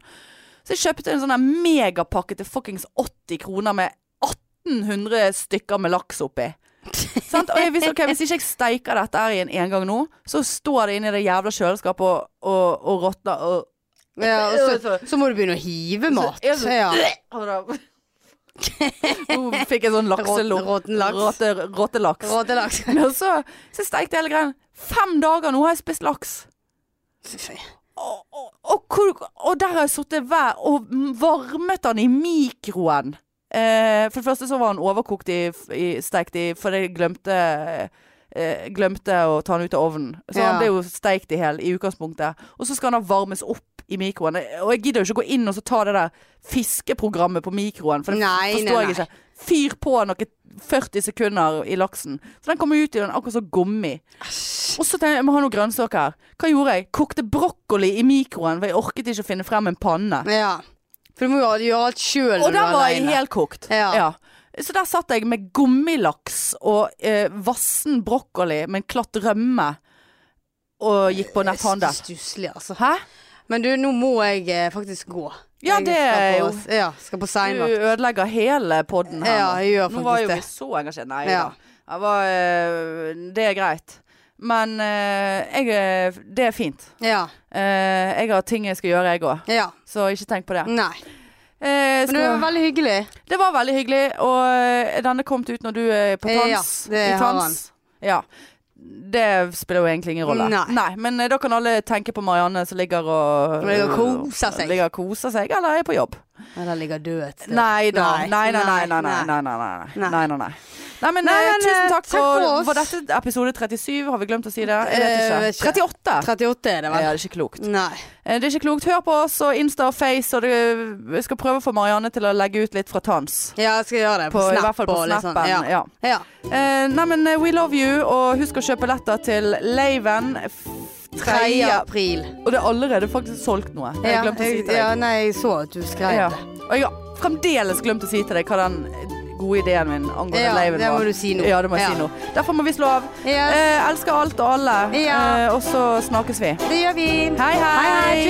Speaker 1: Så jeg kjøpte en sånn der megapakke til fuckings 80 kroner med 1800 stykker med laks oppi. Sant? Og jeg, hvis, ok, hvis ikke jeg steiker dette her i en engang nå, så står det inni det jævla kjøleskapet og, og, og råtner og
Speaker 2: ja og så, så må du begynne å hive mat.
Speaker 1: Så-
Speaker 2: Ja.
Speaker 1: Nå fikk jeg sånn
Speaker 2: Råten,
Speaker 1: lakselort.
Speaker 2: råten laks.
Speaker 1: Råte, råtelaks.
Speaker 2: Råtelaks.
Speaker 1: Og så, så steikte jeg hele greien. Fem dager nå har jeg spist laks. Og, og, og, hvor- og der har jeg sittet hver og m- varmet den i mikroen. Eh, for det første så var den overkokt i, i steikt i For jeg glemte eh, Glemte å ta den ut av ovnen. Så
Speaker 2: Ja.
Speaker 1: den ble jo steikt i hel i utgangspunktet. Og så skal den da varmes opp i mikroen. Og jeg gidder jo ikke gå inn og så ta det der fiskeprogrammet på mikroen, for det
Speaker 2: Nei,
Speaker 1: forstår
Speaker 2: nei,
Speaker 1: jeg ikke. Fyr på noen 40 sekunder i laksen. Så den kommer ut i den akkurat som gummi. Og så tenkte jeg, jeg må ha noen grønnsaker her. Hva gjorde jeg? Kokte brokkoli i mikroen, for jeg orket ikke å finne frem en panne.
Speaker 2: Ja. For du må jo gjøre alt sjøl
Speaker 1: Og
Speaker 2: når du
Speaker 1: den
Speaker 2: er
Speaker 1: var jeg
Speaker 2: aleine.
Speaker 1: helkokt.
Speaker 2: Ja.
Speaker 1: Så der satt jeg med gummilaks og eh, vassen brokkoli med en klatt rømme og gikk på netthandel.
Speaker 2: Stusslig, altså.
Speaker 1: Hæ?
Speaker 2: Men du, nå må jeg eh, faktisk gå.
Speaker 1: Ja,
Speaker 2: Jeg
Speaker 1: det
Speaker 2: skal
Speaker 1: er
Speaker 2: på-
Speaker 1: jo
Speaker 2: Ja, skal på
Speaker 1: Du
Speaker 2: seinvakt.
Speaker 1: ødelegger hele podden her.
Speaker 2: Ja,
Speaker 1: nå.
Speaker 2: jeg gjør
Speaker 1: Nå var
Speaker 2: faktisk
Speaker 1: jo vi
Speaker 2: det.
Speaker 1: så engasjert. Nei
Speaker 2: Ja.
Speaker 1: da. Jeg var, eh, det er greit. Men eh, jeg, eh, det er fint.
Speaker 2: Ja.
Speaker 1: Eh, jeg har ting jeg skal gjøre, jeg òg.
Speaker 2: ja.
Speaker 1: Så ikke tenk på det.
Speaker 2: Nei.
Speaker 1: Eh,
Speaker 2: Men det var
Speaker 1: skal,
Speaker 2: veldig hyggelig.
Speaker 1: det var veldig hyggelig, og eh, denne kom ut når du er på
Speaker 2: Eh,
Speaker 1: tans.
Speaker 2: ja, det
Speaker 1: i
Speaker 2: har
Speaker 1: tans. Ja. Det spiller jo egentlig ingen rolle.
Speaker 2: Nei.
Speaker 1: Men eh, da kan alle tenke på Marianne som ligger og eh,
Speaker 2: Ligger og koser seg.
Speaker 1: Ligger og koser seg eller er på jobb.
Speaker 2: Eller ligger død et sted.
Speaker 1: Nei da.
Speaker 2: Nei.
Speaker 1: Nei, nei, nei. Nei, nei,
Speaker 2: Nei.
Speaker 1: nei. nei, nei, nei.
Speaker 2: Nei.
Speaker 1: nei, nei, nei. nei men,
Speaker 2: Nei,
Speaker 1: eh,
Speaker 2: men,
Speaker 1: tusen
Speaker 2: eh,
Speaker 1: takk,
Speaker 2: takk for oss.
Speaker 1: Var dette episode 37? Har vi glemt å si det? Jeg
Speaker 2: Eh,
Speaker 1: vet
Speaker 2: vet
Speaker 1: ikke.
Speaker 2: ikke.
Speaker 1: 38.
Speaker 2: 38 er det
Speaker 1: Ja,
Speaker 2: vel?
Speaker 1: det er ikke klokt.
Speaker 2: Nei.
Speaker 1: Eh, Det er ikke klokt. Hør på oss og Insta og Face, og det, jeg skal prøve å få Marianne til å legge ut litt fra tans.
Speaker 2: Ja, jeg skal gjøre det. På,
Speaker 1: På, I
Speaker 2: Snap
Speaker 1: hvert fall på
Speaker 2: og litt
Speaker 1: snappen.
Speaker 2: sånn. Ja.
Speaker 1: ja.
Speaker 2: Ja.
Speaker 1: Eh, nei, men eh, we love you, og husk å kjøpe letter til Laven.
Speaker 2: 3.
Speaker 1: Tredje
Speaker 2: april.
Speaker 1: Og det er allerede faktisk solgt noe. Jeg
Speaker 2: Ja,
Speaker 1: glemte å si
Speaker 2: jeg-
Speaker 1: til deg.
Speaker 2: Ja, nei, jeg så at du skrev
Speaker 1: Ja.
Speaker 2: det.
Speaker 1: Og jeg har fremdeles glemt å si til deg hva den gode ideen min angående
Speaker 2: Ja,
Speaker 1: Laven
Speaker 2: det
Speaker 1: var.
Speaker 2: må du si nå.
Speaker 1: Ja, det må jeg
Speaker 2: Ja.
Speaker 1: si nå. Derfor må vi slå av.
Speaker 2: Yes,
Speaker 1: Eh, elsker alt og alle.
Speaker 2: Ja.
Speaker 1: Eh, og så snakkes vi.
Speaker 2: det gjør vi.
Speaker 1: Hei, hei.
Speaker 2: Hei, hei.